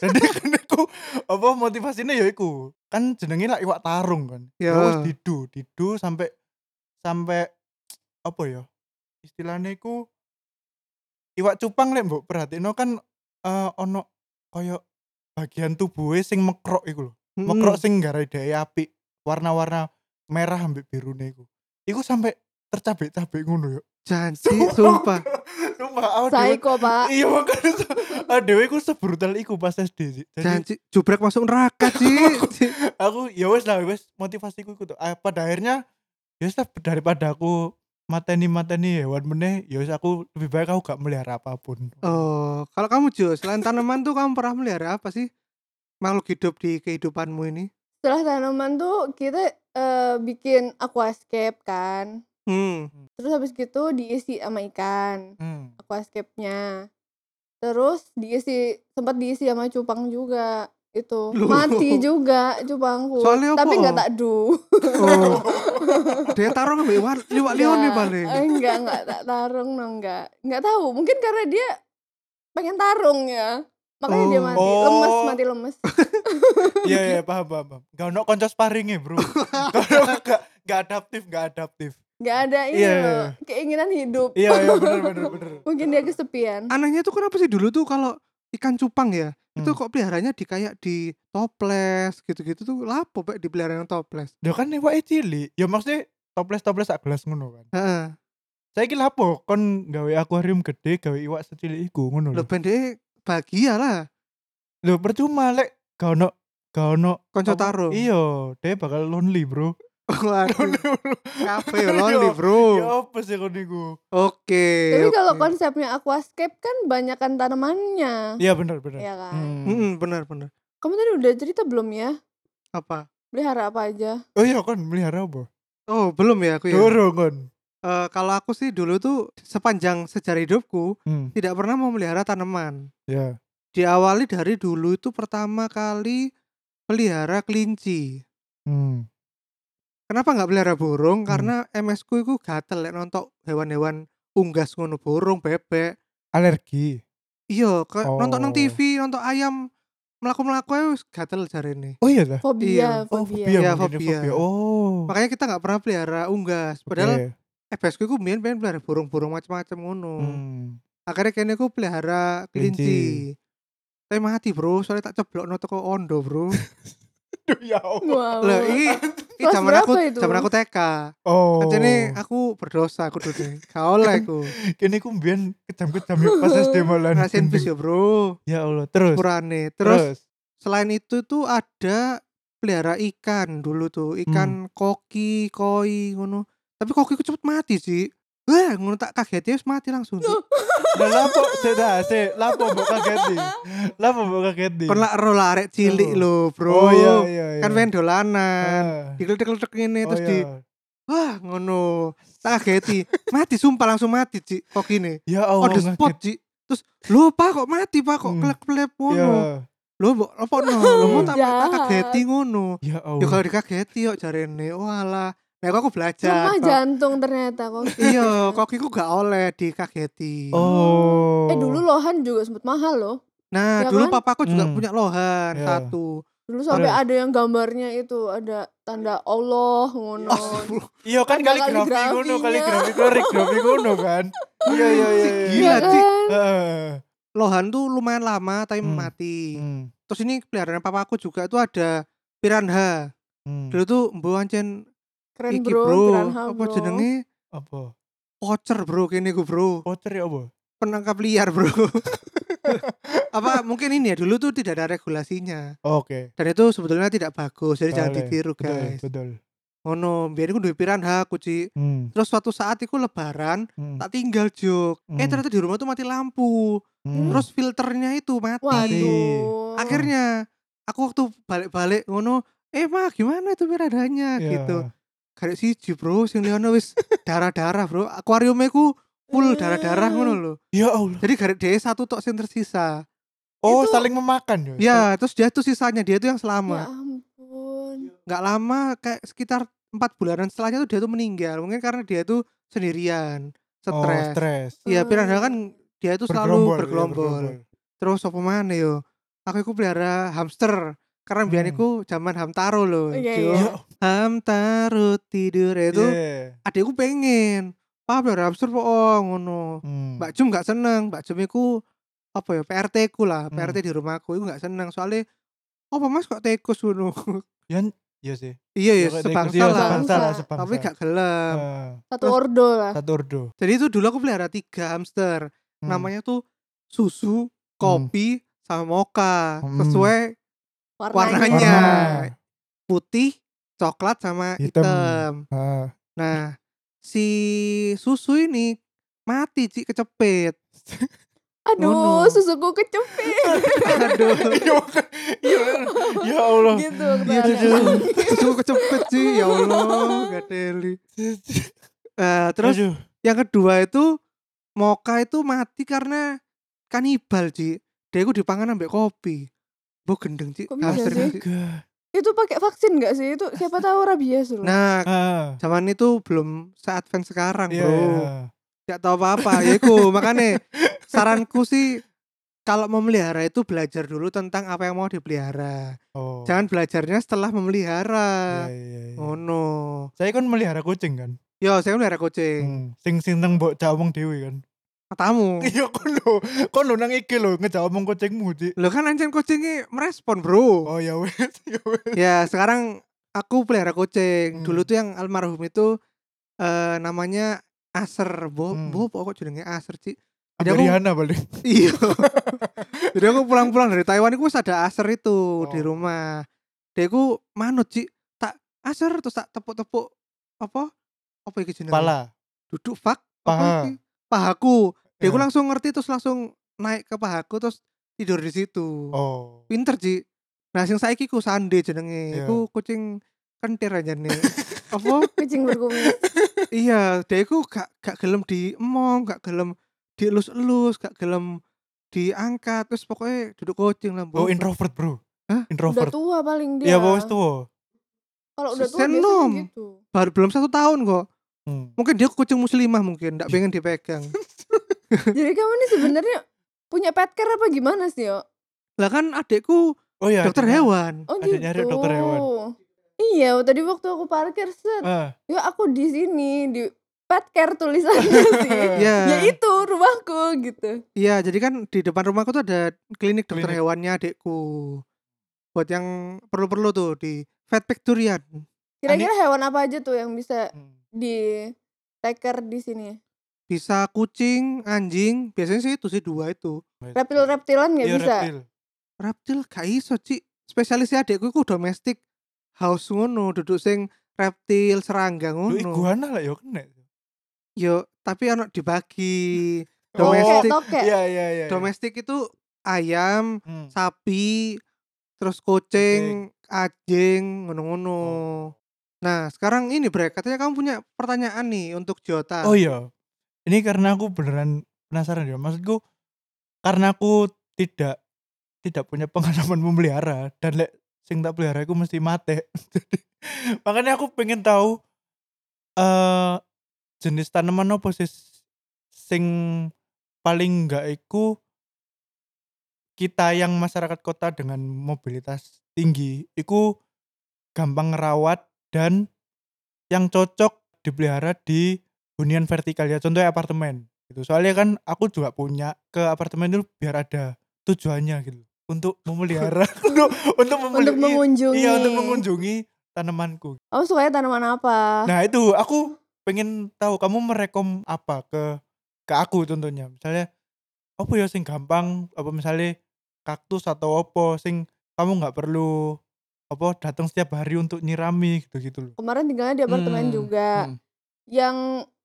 B: jadi kan aku apa motivasinya ya iku kan jenenge lah iwak tarung kan
A: Ya.
B: terus didu didu sampai sampai apa ya istilahnya iku iwak cupang lek mbok perhatiin kan eh, ono koyo bagian tubuhnya sing mekrok iku lho
A: Mm-mm.
B: mekrok sing garai daya api warna-warna merah ambek biru iku iku sampai tercabik-cabik ngono ya. yo
A: Janji, sumpah.
B: sumpah aku dhewe-
C: Psycho, Pak.
B: iya makanya se- ah, dhewe iku sebrutal iku pas SD sih jadi
A: Janji, jubrek masuk neraka, Ci.
B: aku ya wes lah wes motivasiku iku tuh Ah, pada akhirnya ya wes lah daripada aku mateni mateni hewan meneh ya wes aku lebih baik aku gak melihara apapun
A: Oh, kalau kamu Jo, selain tanaman tuh kamu pernah melihara apa sih? Makhluk hidup di kehidupanmu ini?
C: Setelah tanaman tuh kita eh, bikin aquascape kan.
A: Hmm.
C: Terus habis gitu diisi sama ikan
B: Hmm.
C: aquascape-nya. Terus diisi sempat diisi sama cupang juga itu
A: Loh.
C: mati juga cupangku
A: Soalnya
C: tapi
A: apa?
C: nggak takdu
A: Oh. Dia taruh nggak liwat liwat liwat nih
C: Nggak,
B: Ya.
A: ya paling.
C: eh, enggak enggak tak tarung no enggak enggak tahu mungkin karena dia pengen tarung ya makanya dia
A: Oh.
C: mati lemes
B: Oh.
C: mati lemes
B: iya iya paham paham paham. gak ono konco sparinge bro gak gak- gak adaptif gak adaptif
C: nggak ada ini
B: Iya,
C: loh
B: iya.
C: keinginan hidup
B: iya iya bener bener bener
C: mungkin dia kesepian
A: Anehnya tuh kenapa sih dulu tuh kalau ikan cupang ya itu
B: Hmm.
A: kok peliharanya di kayak di toples gitu-gitu tuh lapo pak dipelihara yang toples.
B: dia kan iwak cilik ya maksudnya toples toples sak gelas ngono kan
A: Heeh.
B: saya kira apa kon gawe akuarium gede gawe iwak secilik iku ngono
A: Lo
B: lho
A: pendek bahagia lah.
B: lho percuma lek gak ono gak ono
A: Konco
B: apa-
A: tarung.
B: iya dia bakal lonely bro
A: Waduh, kafe
B: Yo.
A: lonely bro.
B: ya apa sih kon iku
A: Oke.
C: tapi kalau
A: oke.
C: konsepnya aquascape kan banyakan tanamannya
B: iya bener bener
C: ya kan
B: Hmm.
A: Mm-mm, benar-benar.
C: kamu tadi udah cerita belum ya
A: Apa?
C: pelihara apa aja
B: oh iya kon melihara apa
A: Oh belum ya aku ya.
B: dorong kon
A: Eh, kalau aku sih dulu tuh sepanjang sejarah hidupku
B: hmm.
A: tidak pernah memelihara tanaman.
B: ya
A: Diawali dari dulu itu pertama kali pelihara kelinci.
B: hmm.
A: Kenapa nggak pelihara burung?
B: Hmm.
A: Karena MS ku itu gatel lek nonton hewan-hewan unggas ngono burung, bebek.
B: alergi
A: Iya, ke-
B: Oh.
A: nonton nang TV, nonton ayam melaku-melaku ae wis gatel jarene.
B: oh iya dah
C: fobia
B: oh
C: fobia
B: fobia,
A: Iya,
B: mungkin
A: fobia.
B: oh
A: Makanya kita nggak pernah pelihara unggas. Padahal
B: Oke.
A: MS ku iku mbiyen pengen pelihara burung-burung macam-macam ngono.
B: Hmm.
A: Akhirnya kene aku pelihara
B: Kelinci.
A: kelinci. Tapi mati, Bro. Soalnya tak ceblokno teko
C: Oh.
A: ondo, Bro.
B: Duh, ya Allah.
C: Wow.
A: Lah iya, iki iki
C: Kelas
A: zaman aku
C: berapa itu?
A: zaman aku TK.
B: oh
A: Jadi aku berdosa aku dudu. Kaole aku.
B: kini ku mbiyen kejam-kejam yuk pas SD malan
A: Ngerasain bis ya, Bro.
B: ya Allah terus
A: Kurane. Terus selain itu tuh ada pelihara ikan dulu tuh, ikan
B: Hmm.
A: koki, koi ngono. Tapi koki ku cepet mati sih. Wah, ngono tak kaget ya wis mati langsung. Sih.
B: Lah lapo seda se lapo mbok kageti. Lapo mbok kageti.
A: Kon lak ro larek cilik lho, Bro.
B: Oh iya iya iya.
A: Kan pengen dolanan.
B: Ah.
A: dikletek-kletek ini
B: Oh,
A: terus
B: iya.
A: di wah ngono tak kageti mati sumpah langsung mati cik kok gini
B: ya Allah
A: on the spot cik terus lu pak kok mati pak kok
B: Hmm.
A: klep klep
B: ngaget. Ya.
A: ngono lu mbok apa no lu mau tak tak
C: Jahat.
A: kageti ngono
B: Ya
A: ya
B: Allah.
A: kalau dikageti yuk jarene walah nah kok aku belajar
C: lemah
A: Pak.
C: jantung ternyata kok
A: iya kok aku gak oleh dikageti
B: Oh.
C: eh dulu lohan juga sempet mahal loh
A: nah
C: Ya
A: dulu
C: kan?
A: papaku juga
B: Hmm.
A: punya lohan
B: Ya.
A: satu
C: Dulu sampai
B: Terus?
C: ada yang gambarnya itu ada tanda Allah ngono.
B: Iya kan
C: Ada ya.
B: kaligrafi
C: kaligrafinya.
B: ngono, kaligrafi kaligrafi ngono kan. Iya iya iya. iya.
A: Gila,
C: Iya
A: Cik.
C: kan?
B: Heeh.
A: lohan tuh lumayan lama tapi
B: Hmm.
A: mati
B: Hmm.
A: terus ini peliharaan papaku juga itu ada piranha
B: Hmm.
A: dulu tuh mbok ancen
C: Keren
A: iki
C: bro,
A: bro,
C: Piranha
A: apa
C: bro.
A: jenenge
B: Apa?
A: pocher bro kene ku bro
B: Voucher ya apa?
A: penangkap liar bro apa mungkin ini ya dulu tuh tidak ada regulasinya
B: Oke.
A: dan itu sebetulnya tidak bagus jadi jangan
B: Boleh.
A: ditiru
B: Betul,
A: guys
B: betul.
A: ngono biar aku duwe piranha kuci
B: Hmm,
A: terus suatu saat aku lebaran
B: hmm,
A: tak tinggal jok eh
B: Hmm.
A: ternyata di rumah tuh mati lampu
B: hmm.
A: terus filternya itu mati
C: Waduh.
A: Iya. akhirnya aku waktu balik-balik ngono eh mah gimana itu piranhanya
B: Ya.
A: gitu karek siji bro sing liyono wis darah-darah bro akuariumnya ku full darah-darah ngono lho
B: Ya Allah.
A: jadi garek dhewe satu tok sing tersisa
B: Oh,
C: Itu-
B: saling memakan
A: ya terus dia tuh sisanya dia tuh yang
C: Ya
A: selamat
C: ampun.
A: nggak lama kayak sekitar empat bulanan setelahnya tuh dia tuh meninggal mungkin karena dia tuh sendirian
B: Oh,
A: stres
B: stres.
A: ya piranha kan dia tuh
B: Bergerombol,
A: selalu
B: ya,
A: bergelombol
B: bergerombol.
A: terus apa mana yo aku iku pelihara hamster karena biar
B: Hmm.
A: aku zaman hamtaro loh
C: Iya,
A: Jo.
C: iya.
B: Ya,
A: hamtaro tidur itu
B: yeah.
A: adikku pengen pak pelihara hamster po oh, ngono
B: Hmm.
A: mbak Jum nggak seneng mbak Jum iku apa ya PRT ku lah
B: Hmm.
A: PRT di rumahku itu nggak seneng soalnya oh mas kok tikus ngono
B: Iya sih.
A: iya ya
B: Ya, kayak
A: sebangsa
B: dia
A: lah
B: Sebangsa lah,
C: Sebangsa.
B: sebangsa.
A: tapi gak gelem
B: Eh,
C: Satu
A: Terus-
C: ordo lah.
B: satu ordo.
A: jadi itu dulu aku pelihara tiga hamster
B: Hmm.
A: namanya tuh susu kopi sama moka
B: Hmm.
A: sesuai warnanya.
C: Warnanya.
A: putih coklat sama
B: Hitam.
A: hitam,
B: Ah.
A: nah si susu ini mati Ci, kecepit
C: Aduh,
A: Ngono.
C: susuku kecepit
A: aduh
B: Iya, makan. Iya, ya Allah.
C: gitu.
A: Iya,
C: kemarin.
A: aduh. susu kecepit sih ya allah gak deli Eh, terus
B: Aduh.
A: yang kedua itu moka itu mati karena kanibal Ci. dia itu dipangan ambek kopi bu gendeng Ci.
C: Kok bisa
A: hamster
C: sih?
A: Ci.
C: Itu pakai vaksin nggak sih? Itu siapa tahu rabies loh.
A: nah
B: Ah,
A: zaman itu belum saat fans sekarang
B: iya,
A: bro
B: iya.
A: gak tahu apa-apa ya iku makanya saranku sih kalau memelihara itu belajar dulu tentang apa yang mau dipelihara
B: Oh.
A: jangan belajarnya setelah memelihara
B: Iya, iya, iya.
A: oh no
B: Saya kan melihara kucing kan.
A: yo saya melihara kucing
B: Hmm. Sing sing nang mbok jawong dhewe kan.
A: matamu
B: Iya kon lho, kon lho nang iki lho ngejawong kucingmu, Cik.
A: lo kan anjing kucingnya merespon bro
B: Oh ya wes, ya wes.
A: ya sekarang aku pelihara kucing
B: Hmm.
A: dulu tuh yang almarhum itu eh, namanya Aser bo
B: Hmm.
A: bo pokok jenenge Aser sih Jadi aku-
B: Rihanna balik.
A: iya jadi aku pulang-pulang dari Taiwan itu wis ada aser itu di
B: Oh.
A: rumah dia aku manut sih tak aser terus tak tepuk-tepuk apa apa iki jenenge
B: Pala. Ah.
A: duduk fak
B: Paha.
A: apa iki? pahaku dia aku
B: Iya.
A: langsung ngerti terus langsung naik ke pahaku terus tidur di situ
B: Oh.
A: pinter sih nah sing saiki ku sande jenenge
B: Iya.
A: iku kucing kentir aja nih apa
C: Kucing berkumis.
A: iya dia itu gak gak gelem diemong gak gelem dielus-elus gak gelem diangkat terus pokoknya duduk kucing lah
B: Oh
A: Bu.
B: introvert, Bro.
A: Hah?
C: Udah
B: Introvert.
C: tua paling dia.
B: Iya, wes tuwa.
C: Kalau udah tua biasanya
A: Senom.
C: gitu.
A: baru belum satu tahun kok
B: Hmm.
A: mungkin dia kucing muslimah mungkin
B: Iya.
A: gak pengen dipegang
C: Jadi kamu ini sebenarnya punya pet care apa gimana sih, Yo?
A: lah kan adekku
B: Oh iya.
A: dokter
B: adiknya.
A: hewan
C: Oh
B: Ada
C: gitu.
B: nyari dokter hewan.
C: Iya, tadi waktu aku parkir set,
B: Ah.
C: ya aku di sini di pet care tulisannya sih.
A: Iya.
C: ya itu rumahku gitu.
A: iya jadi kan di depan rumahku tuh ada klinik dokter
B: Klinik.
A: hewannya adekku buat yang perlu-perlu tuh di Vet Victorian
C: Kira-kira hewan apa aja tuh yang bisa
B: Hmm.
C: di take care di sini?
A: bisa kucing anjing biasanya sih itu sih dua itu
C: Reptil-reptilan nggak
B: Iya,
C: bisa.
B: reptil.
A: reptil gak iso Ci. spesialisnya adekku iku domestik house ngono duduk sing reptil serangga
B: Lu
A: ngono
B: iguana lah ya kena.
A: yo tapi ono dibagi
B: Oh,
C: Tokek,
A: domestik
C: tokek.
B: Iya, iya, iya.
A: domestik itu ayam
B: Hmm.
A: sapi terus kucing anjing ngono-ngono
B: Oh.
A: nah sekarang ini Bre katanya kamu punya pertanyaan nih untuk Jota
B: Oh iya. Ini karena aku beneran penasaran ya. Maksudku karena aku tidak tidak punya pengalaman memelihara dan lek sing tak pelihara aku mesti mati. Jadi, makanya aku pengen tahu eh jenis tanaman apa sih sing paling enggak iku kita yang masyarakat kota dengan mobilitas tinggi iku gampang ngerawat dan yang cocok dipelihara di hunian vertikal ya contohnya apartemen gitu soalnya kan aku juga punya ke apartemen itu biar ada tujuannya gitu untuk memelihara untuk untuk
C: Untuk
B: memelihara
C: mengunjungi.
B: iya untuk mengunjungi tanamanku
C: Kamu sukanya tanaman apa?
B: nah itu aku pengen tahu kamu merekom apa ke ke aku contohnya misalnya apa ya sing gampang apa misalnya kaktus atau apa sing kamu nggak perlu apa datang setiap hari untuk nyirami gitu gitu loh
C: Kemarin tinggalnya di apartemen
B: Hmm,
C: juga.
B: hmm.
C: Yang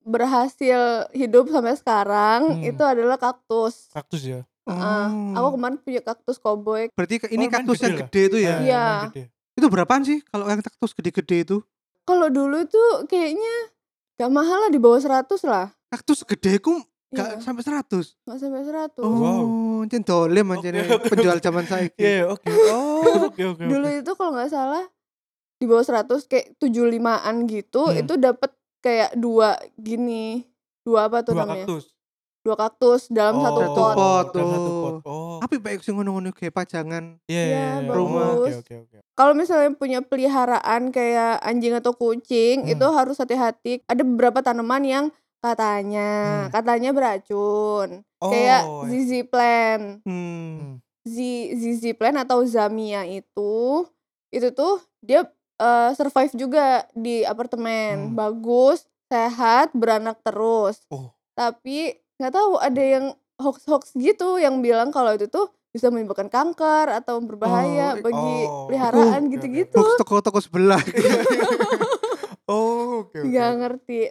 C: berhasil hidup sampai sekarang
B: Hmm.
C: itu adalah kaktus.
B: kaktus ya
C: Ah,
A: Oh.
C: Aku kemarin punya kaktus koboi.
A: Berarti ke- ini
B: Oh, lumayan
A: kaktus
B: gede
A: yang
B: lah.
A: gede itu ya?
B: Eh,
C: Iya.
B: lumayan gede.
A: Itu berapaan sih kalau yang kaktus gede-gede itu?
C: Kalau dulu tuh kayaknya gak mahal lah di bawah 100 lah.
A: Kaktus gede ku
C: Iya,
A: gak sampai 100.
C: gak sampai 100.
A: Oh,
B: Wow.
A: cen dolim aja
B: Oke,
A: nih
B: oke.
A: penjual zaman saya.
B: Iya, iya, oke. Oh, oke, oke.
C: dulu itu kalau nggak salah di bawah 100 kayak 75-an gitu
B: Hmm.
C: itu dapat kayak dua gini dua apa tuh
B: dua
C: namanya
B: kaktus.
C: dua kaktus dalam satu
B: Oh.
A: Satu
C: pot
A: pot.
B: dalam satu pot. Oh,
A: Tapi baik sih ngono-ngono kayak pajangan.
B: iya,
C: Iya,
B: iya, iya.
A: bagus.
B: Oke, oke, oke.
C: kalau misalnya punya peliharaan kayak anjing atau kucing
B: Hmm.
C: itu harus hati-hati ada beberapa tanaman yang katanya
B: Hmm.
C: katanya beracun
B: Oh,
C: kayak
B: iya.
C: zizi plant
A: Hmm.
C: Z- zizi plant atau zamia itu itu tuh dia eh, survive juga di apartemen
B: Hmm.
C: bagus sehat beranak terus
B: Oh.
C: tapi nggak tahu ada yang hoax hoax gitu yang bilang kalau itu tuh bisa menyebabkan kanker atau berbahaya
A: Oh,
C: bagi
B: oh.
C: peliharaan
B: Oh,
C: gitu-gitu
A: Box toko-toko sebelah.
B: Oh, oke, oke.
C: Iya, nggak ngerti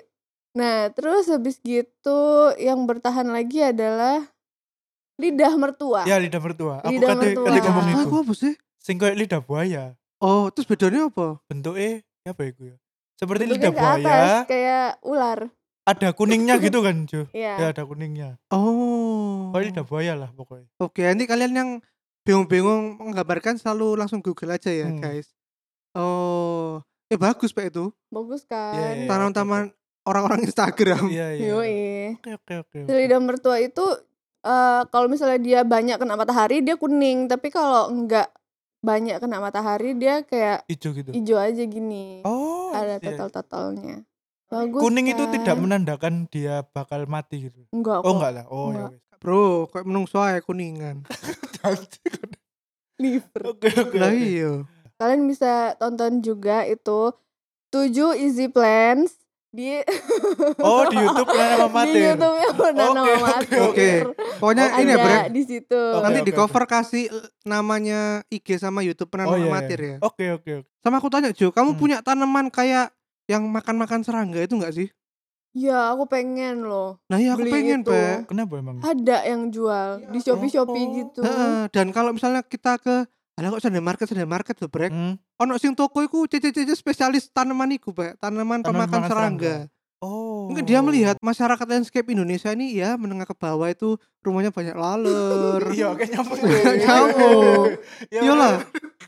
C: nah terus habis gitu yang bertahan lagi adalah lidah mertua
B: Ya, lidah mertua. Aku
C: Lidah
B: kate
C: mertua.
B: kate ngomong
C: Lidah
B: itu.
A: Aku apa sih?
B: Sing kayak lidah buaya.
A: Oh, terus bedanya apa?
B: Bentuknya apa ya gue? Seperti
C: Bentuknya
B: lidah
C: ke atas
B: buaya,
C: kayak ular
B: ada kuningnya gitu kan, Jo.
C: ya
B: Ya, ada kuningnya.
A: Iya. Oh.
B: Pokoknya lidah buaya lah pokoknya.
A: Oke, nanti kalian yang bingung-bingung menggambarkan selalu langsung Google aja ya,
B: Hmm.
A: guys. Oh, eh bagus Pak itu.
C: bagus
B: Iya,
C: kan
B: iya,
A: Taman-taman orang-orang Instagram.
B: Iya, Hmm. iya.
C: Yoi.
B: Oke, oke, oke. oke.
C: Lidah mertua itu eh, kalau misalnya dia banyak kena matahari dia kuning, tapi kalau enggak banyak kena matahari dia kayak
B: Hijau gitu.
C: hijau aja gini.
B: Oh,
C: Ada
B: iya, iya.
C: total-totalnya. Bagus.
B: kuning itu tidak
C: kan?
B: menandakan dia bakal mati gitu.
C: enggak kok.
B: Oh enggak lah. Oh ya
C: Enggak.
B: wes.
A: Bro, kok menungso ae kuningan.
C: Liver.
B: Oke oke.
A: Lah
B: oke.
A: iya.
C: Kalian bisa tonton juga itu 7 easy plans di
B: Oh di YouTube gitu? Pranama
C: di
B: Amatir.
C: YouTube-nya Pranama
B: Oke, oke,
C: Amatir.
A: oke. Pokoknya
C: Ada
A: ini ya, Bre.
C: di situ.
B: Oke,
A: Nanti
B: oke,
A: di cover kasih eh, namanya IG sama YouTube penanam
B: Oh, iya, iya.
A: amatir ya.
B: Oke oke oke.
A: Sama aku tanya Jo, kamu
B: Hmm.
A: punya tanaman kayak yang makan-makan serangga itu enggak sih?
C: Ya, aku pengen loh.
A: Nah, iya aku
C: beli
A: pengen,
C: itu.
A: Pak.
B: Kenapa emang?
C: Ada yang jual di Shopee-Shopee
B: Oh.
C: gitu.
A: Heeh, dan kalau misalnya kita ke Alah kok Sunday market, Sunday market loh, Brek.
B: Hmm?
A: Ono sing toko iku cece-cece spesialis tanaman iku, Pak. Tanaman, pemakan
B: Tanaman pemakan
A: serangga.
B: serangga. Oh.
A: Mungkin dia melihat masyarakat landscape Indonesia ini ya menengah ke bawah itu rumahnya banyak laler.
B: Iya oke nyambung.
A: Nyambung.
B: Iya,
A: Iyalah.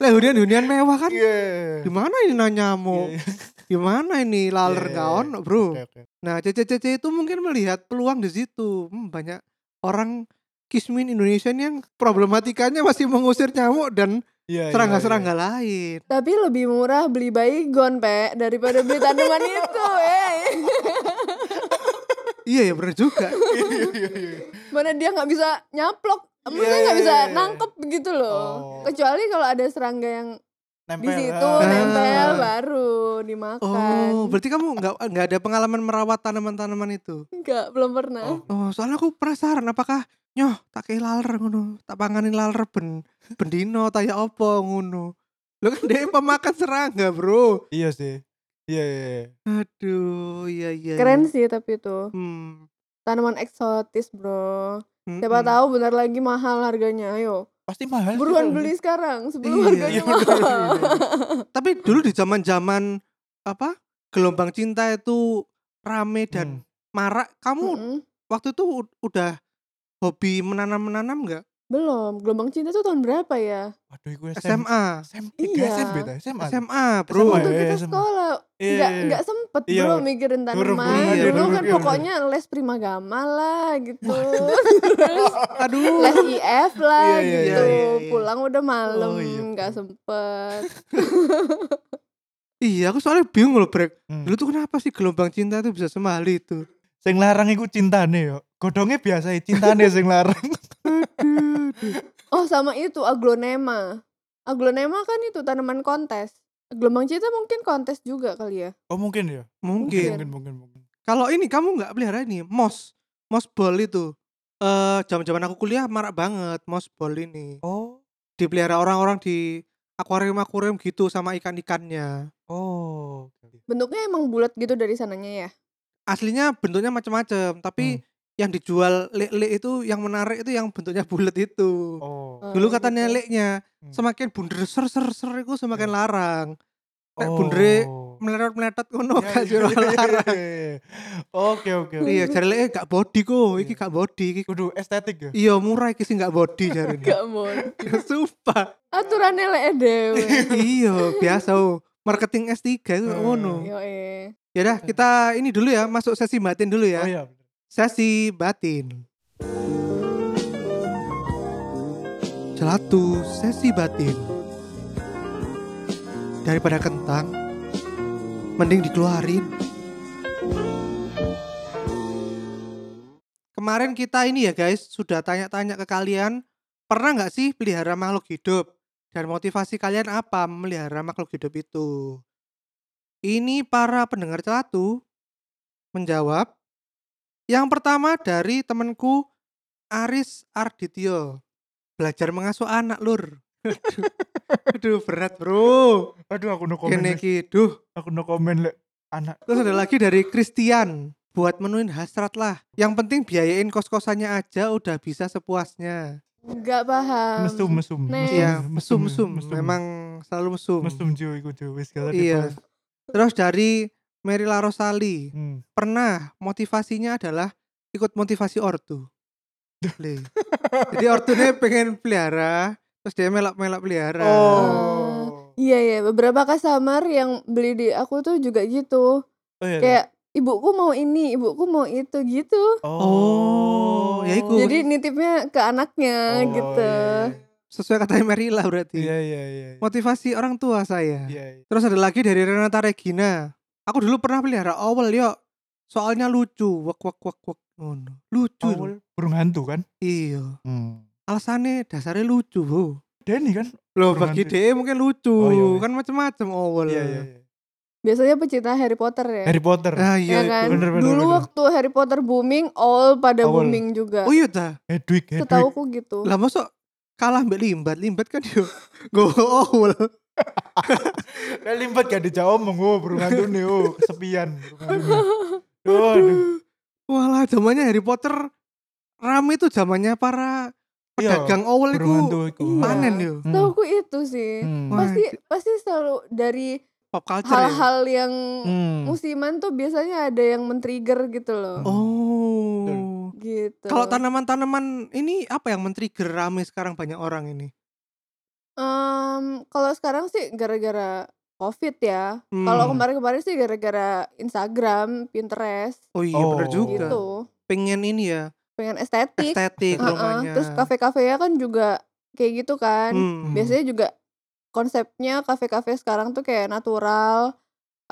A: Lah hunian-hunian mewah kan.
B: Iya.
A: Gimana ini
B: Iya,
A: nyamuk?
B: iya.
A: Gimana ini laler
B: Iya, iya,
A: nggak
B: iya.
A: ono, Bro?
B: Oke, oke.
A: Nah, CCCC itu mungkin melihat peluang di situ. Hmm, banyak orang kismin Indonesia ini yang problematikanya masih mengusir nyamuk dan
B: Iya, iya,
A: serangga-serangga lain.
C: Tapi lebih murah beli baygon, Pe, daripada beli tanaman itu, eh.
A: Iya ya bener juga.
B: Iya iya iya.
C: Mana dia nggak bisa nyaplok, maksudnya
B: Iya,
C: nggak
B: iya,
C: bisa
B: iya.
C: nangkep gitu loh.
B: Oh.
C: Kecuali kalau ada serangga yang di
B: Nempel.
C: situ
B: ah.
C: nempel
A: Ah.
C: baru dimakan.
A: Oh, berarti kamu nggak nggak ada pengalaman merawat tanaman-tanaman itu?
C: Enggak, belum pernah.
B: Oh.
A: Oh, soalnya aku penasaran apakah nyoh tak kei laler ngono, tak panganin laler ben bendino taya opo ngono. Lo kan dia pemakan serangga, Bro.
B: Iya sih. Iya iya. iya.
A: Aduh, iya iya. iya.
C: Keren sih tapi itu.
A: Hmm.
C: Tanaman eksotis, Bro. Siapa
A: Mm-mm.
C: tahu benar lagi mahal harganya. Ayo,
B: Pasti mahal. sih
C: buruan
B: kalau- gitu.
C: beli sekarang sebelum
A: Iya.
C: harganya
B: Iya,
C: mahal.
B: betul, iya, iya.
A: Tapi dulu di zaman-zaman apa? Gelombang cinta itu rame
B: Hmm.
A: dan marak. Kamu
C: Mm-mm.
A: waktu itu u- udah hobi menanam-menanam nggak?
C: Belum, gelombang cinta tuh tahun berapa ya?
B: Waduh, gue
A: SMA.
B: SMA. SMA.
C: Iya.
B: SMP dah, SMA.
A: SMA,
B: Oh,
A: Bro.
C: Waktu
B: iya,
C: kita
B: iya, sama.
C: sekolah
B: Iya,
C: nggak
B: iya, iya.
C: nggak sempet
B: Iya,
C: bro
B: Pak.
C: mikirin
B: Dulu
C: tanaman
A: belum ada,
C: dulu
A: dulu
B: iya,
C: kan
A: belum ada.
C: pokoknya les primagama lah gitu
A: Aduh.
C: les IF lah
B: Iya, iya,
C: gitu
A: iya, iya.
C: pulang udah malam
B: Oh, iya,
C: nggak
B: betul.
C: sempet
A: Iya, aku soalnya bingung loh, Brek.
B: Hmm.
A: Dulu tuh kenapa sih gelombang cinta tuh bisa semahal itu?
B: Sing larang iku cintane yo. Godhongnya biasa cintane sing larang.
A: Aduh, aduh.
C: oh sama itu aglonema aglonema kan itu tanaman kontes gelombang cinta mungkin kontes juga kali ya
B: Oh, mungkin ya.
A: Mungkin.
B: Mungkin mungkin mungkin.
A: Kalau ini kamu nggak pelihara ini, mos. Mos ball itu. eh zaman-zaman aku kuliah marak banget mossball ini.
B: Oh,
A: Dipelihara orang-orang di akuarium-akuarium gitu sama ikan-ikannya.
B: oh.
C: Bentuknya emang bulat gitu dari sananya ya.
A: Aslinya bentuknya macam-macam,
B: Hmm.
A: tapi yang dijual lele itu yang menarik itu yang bentuknya bulat itu.
B: Oh.
C: Eh,
A: Dulu katanya
C: gitu.
A: leknya
B: Hmm.
A: semakin bunder ser ser ser itu semakin
B: Hmm.
A: larang. Nek
B: Oh.
A: bundere meletot meletot ngono
B: Ya,
A: gak
B: iya,
A: jero
B: iya, iya,
A: larang.
B: iya, iya. Oke, oke. oke.
A: Iya, jare leke gak body kok, iki
B: Iya.
A: gak body iki.
B: Kudu estetik ya.
A: Iya, murah iki sih gak body jare.
C: Gak mau.
A: Sumpah.
C: Aturannya lek dewe.
A: Iya, biasa. oh. Marketing S3 itu
B: Hmm.
A: ngono.
C: Yo eh.
A: Ya dah, kita ini dulu ya, masuk sesi batin dulu
B: Oh
A: ya.
B: iya. bener.
A: Sesi batin. Celatu sesi batin. Daripada kentang, mending dikeluarin. Kemarin kita ini ya guys, sudah tanya-tanya ke kalian, pernah nggak sih pelihara makhluk hidup? Dan motivasi kalian apa melihara makhluk hidup itu? Ini para pendengar celatu menjawab, yang pertama dari temanku Aris Ardityo. Belajar mengasuh anak, Lur. Aduh, Aduh, berat, Bro.
B: Aduh aku no komen.
A: Kene
B: Lek.
A: iki, duh.
B: Aku no komen lek anak.
A: Terus ada lagi dari Christian. Buat menuin hasrat lah. Yang penting biayain kos-kosannya aja udah bisa sepuasnya.
C: Gak paham.
B: Mesum, mesum.
C: Nek.
B: mesum,
A: Iya,
B: mesum,
A: mesum-mesum.
B: mesum.
A: Memang selalu mesum.
B: mesum jo iku jo wis
A: Iya.
B: kala dipoles.
A: Terus dari Merila Rosali.
B: Hmm.
A: Pernah motivasinya adalah ikut motivasi ortu. Le. Jadi ortunya pengen pelihara, terus dia melak-melak pelihara.
B: Oh.
C: Iya ya, beberapa customer yang beli di aku tuh juga gitu.
B: Oh iya.
C: Kayak ibuku mau ini, ibuku mau itu gitu.
A: Oh, ya iku.
C: Jadi nitipnya ke anaknya
B: Oh,
C: gitu.
A: Sesuai katanya Merila berarti.
B: Iya iya iya. iya.
A: Motivasi orang tua saya.
B: Iya. iya.
A: Terus ada lagi dari Renata Regina. Aku dulu pernah pelihara owl yuk. Soalnya lucu, wak wak wak wak. Ngono. Lucu.
B: Awal burung hantu kan?
A: Iya.
B: Hmm.
A: Alasannya dasarnya lucu, Bu.
B: Denny kan?
A: Loh,
B: Burung
A: bagi
B: hantu.
A: DE mungkin lucu.
B: Oh, iya.
A: Kan macam-macam owl.
B: Iya iya. iya.
C: Biasanya pecinta Harry Potter ya.
B: Harry Potter.
A: Ah,
C: ya
A: iya.
C: kan?
B: bener, bener,
C: Dulu
B: bener.
C: waktu Harry Potter booming, all pada
B: Awal.
C: booming juga.
A: Oh iya dah.
B: Hedwig, Hedwig.
C: Setauku gitu.
A: Lah masa kalah mbak Limbat? Limbat kan yo go owl.
B: Lah limpet gak dijawab mengu burung hantu nih, oh, kesepian. burung hantunya. Duh, aduh.
A: Walah zamannya Harry Potter rame itu zamannya para
B: Iya,
A: pedagang owl
B: burung hantu
A: itu
B: iku.
C: Iya.
A: panen yo.
B: Hmm.
C: Setauku itu sih.
B: Hmm.
A: Wah,
C: Pasti
A: di-
C: pasti selalu dari
A: Pop culture ya.
C: hal-hal yang
B: Hmm.
C: musiman tuh biasanya ada yang men-trigger gitu loh.
B: Oh. Betul.
A: Oh.
C: Gitu.
A: Kalau tanaman-tanaman ini apa yang men-trigger rame sekarang banyak orang ini?
C: Em, Mmm, kalau sekarang sih gara-gara Covid ya. Kalau
A: Hmm.
C: kemarin-kemarin sih gara-gara Instagram, Pinterest
A: Oh iya bener
B: Oh.
A: juga.
C: gitu.
A: Pengen ini ya,
C: Pengen estetik.
A: estetik
B: Heeh,
C: Heeh,
A: rumahnya.
C: Terus kafe-kafe ya kan juga kayak gitu kan.
A: Hmm.
C: Biasanya juga konsepnya kafe-kafe sekarang tuh kayak natural.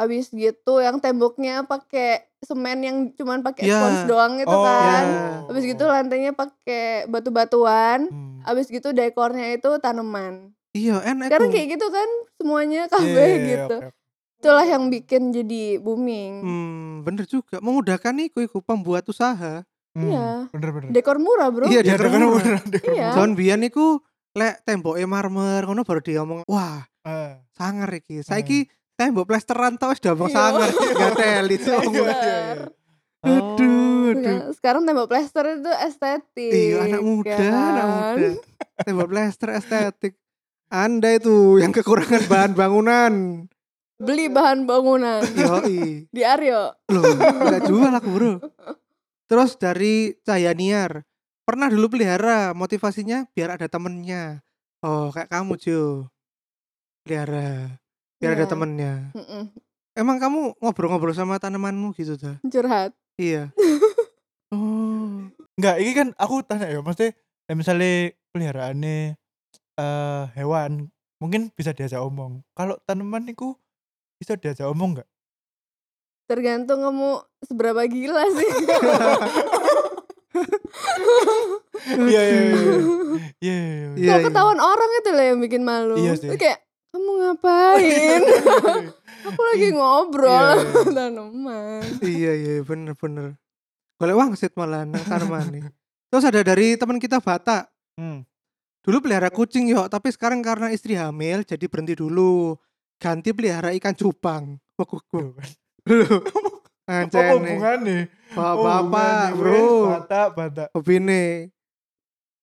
C: Abis gitu yang temboknya pakai semen yang cuman pakai
A: Ya.
C: spons doang itu
B: Oh,
C: kan.
A: ya.
C: Abis gitu lantainya pakai batu-batuan.
B: Hmm.
C: Abis gitu dekornya itu tanaman.
A: Iya, enak
C: Sekarang
A: tuh.
C: kayak gitu kan semuanya kafe
B: Iya, iya, iya,
C: gitu.
B: oke, oke.
C: Itulah yang bikin jadi booming.
A: Hmm, bener juga. Memudahkan iku iku pembuat usaha.
B: Hmm,
C: Iya.
B: Bener bener.
C: Dekor murah, Bro.
A: Iya,
B: Iya,
A: dekor
B: dekor
A: murah.
B: murah, dekor
C: Iya.
B: murah.
A: John Bian iku lek temboke marmer ngono baru diomong, "Wah,
B: Ah.
A: sangar iki." Saiki tembok plesteran tok wis diomong
C: Iya.
A: sangar, enggak teli
B: Iya,
A: cowok.
B: iya, iya.
C: Oh,
A: Aduh, aduh.
C: Sekarang- Sekarang tembok plester itu estetik.
A: Iya, anak muda,
C: kan?
A: anak muda. Tembok plester estetik. Anda itu yang kekurangan bahan bangunan.
C: Beli bahan bangunan
A: Yoi.
C: di Aryo.
A: Loh, enggak jual aku, Bro. Terus dari Cahayaniar. Pernah dulu pelihara, motivasinya biar ada temennya. Oh, kayak kamu, Jo. Pelihara, biar ada
C: Iya.
A: temennya.
C: Mm-mm,
A: Emang kamu ngobrol-ngobrol sama tanamanmu gitu dah?
C: Curhat.
A: Iya. oh.
B: Enggak, ini kan aku tanya ya, maksudnya ya misalnya peliharaannya eh hewan mungkin bisa diajak omong. Kalau tanaman itu bisa diajak omong enggak?
C: Tergantung kamu seberapa gila sih.
B: Iya iya iya. Iya iya. iya.
A: Iya,
C: Kalau ketahuan orang itu lah yang bikin malu.
B: Iya sih.
C: Itu kayak kamu ngapain? Aku lagi ngobrol
B: Iya,
C: sama tanaman.
A: iya iya bener-bener. Golek wangsit malah nang tanaman nih. Terus ada dari teman kita Batak.
B: Hmm.
A: Dulu pelihara kucing yuk, tapi sekarang karena istri hamil jadi berhenti dulu. Ganti pelihara ikan cupang. Oh, Wekuku.
B: Apa
A: Ancene.
B: hubungannya? Oh,
A: Bapak-bapak,
B: Hubungannya,
A: Bro.
B: wes, Batak, batak.
A: Hobine.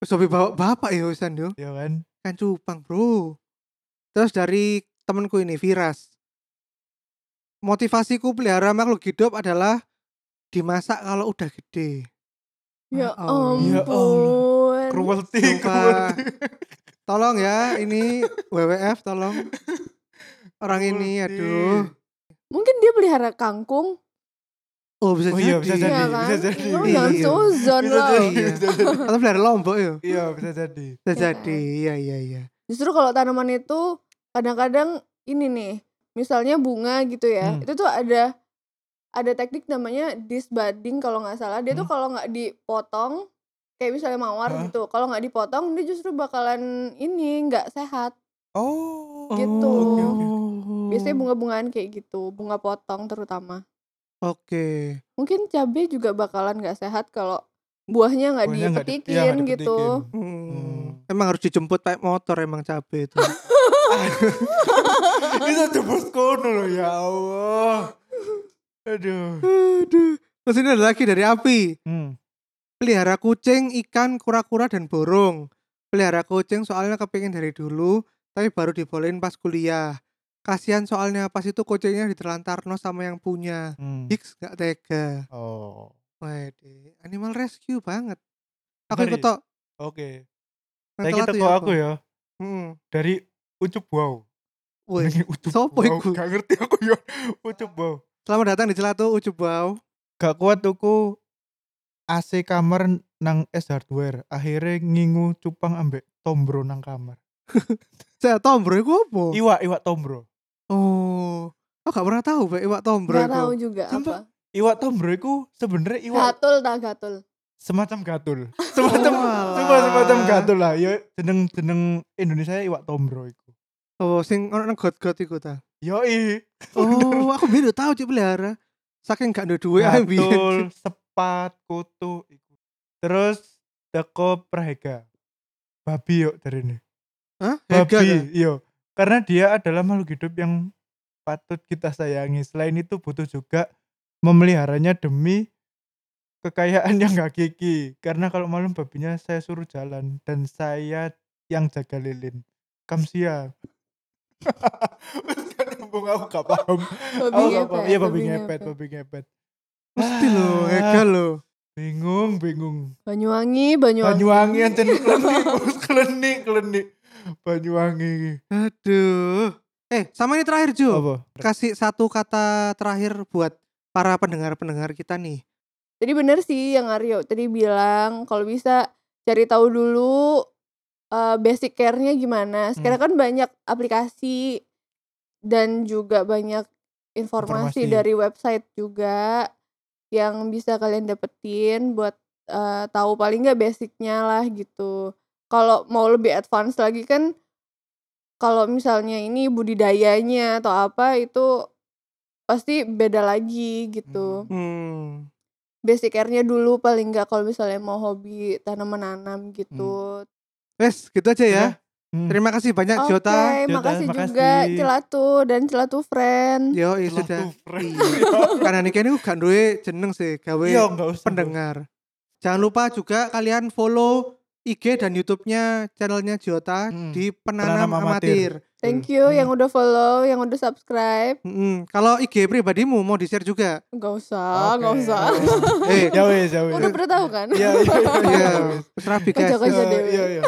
A: Wis hobi bawa bapak ya wisan yo.
B: Ya kan?
A: Ikan cupang, Bro. Terus dari temanku ini Viras. Motivasiku pelihara makhluk hidup adalah dimasak kalau udah gede.
C: Ya
A: Oh,
C: ampun.
B: ya Allah. Cruelty,
A: Sumpah.
B: cruelty.
A: Tolong ya, ini WWF tolong. Orang ini
B: Cruelty.
A: aduh.
C: Mungkin dia pelihara kangkung.
A: Oh, bisa
B: Oh
A: jadi.
B: iya, bisa jadi.
C: Iya kan?
B: jadi.
C: Kamu jangan
A: Iya.
C: suzon
B: Bisa
C: loh.
B: jadi,
A: Iya.
B: bisa jadi.
A: Atau pelihara lombok ya.
B: Iya, bisa jadi.
A: Bisa
C: Iya.
A: jadi. Iya, iya, iya.
C: Justru kalau tanaman itu kadang-kadang ini nih, misalnya bunga gitu ya,
B: Hmm.
C: itu tuh ada ada teknik namanya disbudding kalau nggak salah. Dia tuh
B: Hmm.
C: kalau nggak dipotong, kayak misalnya mawar
B: Hah?
C: gitu, kalau nggak dipotong dia justru bakalan ini nggak sehat.
B: Oh.
C: Gitu.
B: oke, oke.
C: Biasanya
B: Hmm.
C: bunga-bungaan kayak gitu, bunga potong terutama.
A: Oke.
C: Mungkin cabai juga bakalan nggak sehat kalau buahnya nggak
B: Buahnya nggak di-
C: dipetikin
B: iya, nggak
C: gitu.
B: dipetikin.
A: Hmm. Emang harus dijemput pakai motor emang cabe itu.
B: Itu jebus kono loh ya Allah. Aduh.
A: aduh. Terus ini ada lagi dari Api.
B: Hmm.
A: Pelihara kucing, ikan, kura-kura dan borong. Pelihara kucing soalnya kepingin dari dulu, tapi baru dibolehin pas kuliah. Kasihan soalnya pas itu kucingnya ditelantarno sama yang punya.
B: Hmm.
A: Hicks gak tega.
B: Oh.
A: Waduh, animal rescue banget. Aku
B: Bentar ya?
A: ikut tok.
B: Oke.
A: Ngetel
B: Saiki
A: atuh
B: teko aku ya
A: Hmm.
B: dari Ucup Wow.
A: Woi,
B: Jenenge Ucup
A: sopo
B: Wow.
A: iku?
B: Gak ngerti aku ya. Ucup Wow.
A: selamat datang di Celatu Ucubau.
B: Gak kuat tuku AC kamar nang S hardware. Akhirnya ngingu cupang ambek tombro nang kamar.
A: Saya tombro iku apa?
B: Iwak, iwak tombro.
A: Oh, aku gak pernah tahu Pak iwak tombro
C: Nggak
A: iku.
C: tahu juga
B: Sumpah,
C: apa.
B: Iwak tombro iku sebenarnya iwak
C: Gatul tak gatul.
B: semacam gatul. Semacam
A: alah.
B: Sumpah semacam gatul lah. Ya jeneng jeneng Indonesia iwak tombro iku.
A: Oh, sing ono nang got-got iku ta.
B: Yoi,
A: Oh, aku biar tahu cek pelihara. Saking gak ada duit ae biyen.
B: gatul, sepat, kutu iku. Terus teko prahega. Babi yuk dari ini.
A: Hah? ya? Harga ta?
B: Babi, yo. iya. Karena dia adalah makhluk hidup yang patut kita sayangi. Selain itu butuh juga memeliharanya demi kekayaan yang gak kiki. Karena kalau malam babinya saya suruh jalan dan saya yang jaga lilin. Kamsia. Wes gak nyambung, kan aku gak paham.
C: Babi
B: Aku gak paham.
C: ngepet,
B: Iya babi ngepet, babi ngepet.
A: Mesti lo,
B: Ah,
A: harga lo.
B: Bingung, bingung.
C: Banyuwangi, Banyuwangi.
B: Banyuwangi anjen klenik, bos, klenik, klenik. Banyuwangi.
A: Aduh. Eh, sama ini terakhir Jo.
B: Apa?
A: Kasih satu kata terakhir buat para pendengar-pendengar kita nih.
C: Tadi bener sih yang Aryo tadi bilang kalau bisa cari tahu dulu eh, basic care-nya gimana. Sekarang
B: Hmm.
C: kan banyak aplikasi dan juga banyak informasi,
B: Informasi.
C: dari website juga yang bisa kalian dapetin buat eh, tahu paling nggak basicnya lah gitu. Kalau mau lebih advance lagi kan kalau misalnya ini budidayanya atau apa itu pasti beda lagi gitu
B: Hmm.
A: Hmm.
C: basic care-nya dulu paling nggak kalau misalnya mau hobi tanam menanam gitu.
A: Wes, gitu aja ya.
B: Hmm.
A: Terima kasih banyak
C: Oke,
A: Jota.
B: Jota,
C: makasih
B: makasih.
C: juga Celatu dan Celatu friend.
A: Yo, iya
B: Telah
A: sudah.
B: tuh,
A: Karena nih kayaknya gak duwe jeneng sih gawe
B: Iya, enggak usah.
A: pendengar. Jangan lupa juga kalian follow IG dan YouTube-nya channelnya Jota
B: Hmm.
A: di Penanam, Amatir.
B: Penanam Amatir.
C: Thank you
B: Hmm.
C: yang udah follow, yang udah subscribe.
A: Mm-mm. Kalau IG pribadimu mau di-share juga.
C: Gak usah, nggak
B: Oke.
C: usah.
A: Eh,
B: Ya wes, ya wes.
C: udah pernah tahu kan?
B: Iya, iya, iya,
A: iya,
B: iya.
A: terus rapi guys.
C: Kerja kerja
B: Eh,
C: dewe.
B: Iya, iya.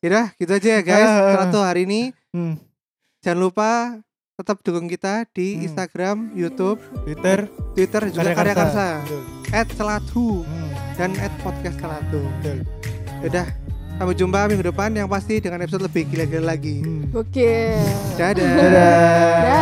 A: Yaudah, gitu aja ya guys.
B: Ah.
A: Satu hari ini
B: Hmm.
A: jangan lupa tetap dukung kita di
B: Hmm.
A: Instagram, YouTube,
B: Twitter
A: Twitter dan juga Karya Karsa.
B: Betul.
A: @selatu
B: Hmm,
A: dan @podcastselatu.
B: betul.
A: Yaudah, sampai jumpa minggu depan yang pasti dengan episode lebih gila-gila lagi.
B: Hmm.
C: Oke.
A: Hmm. Dadah.
B: Dadah.
C: Dah.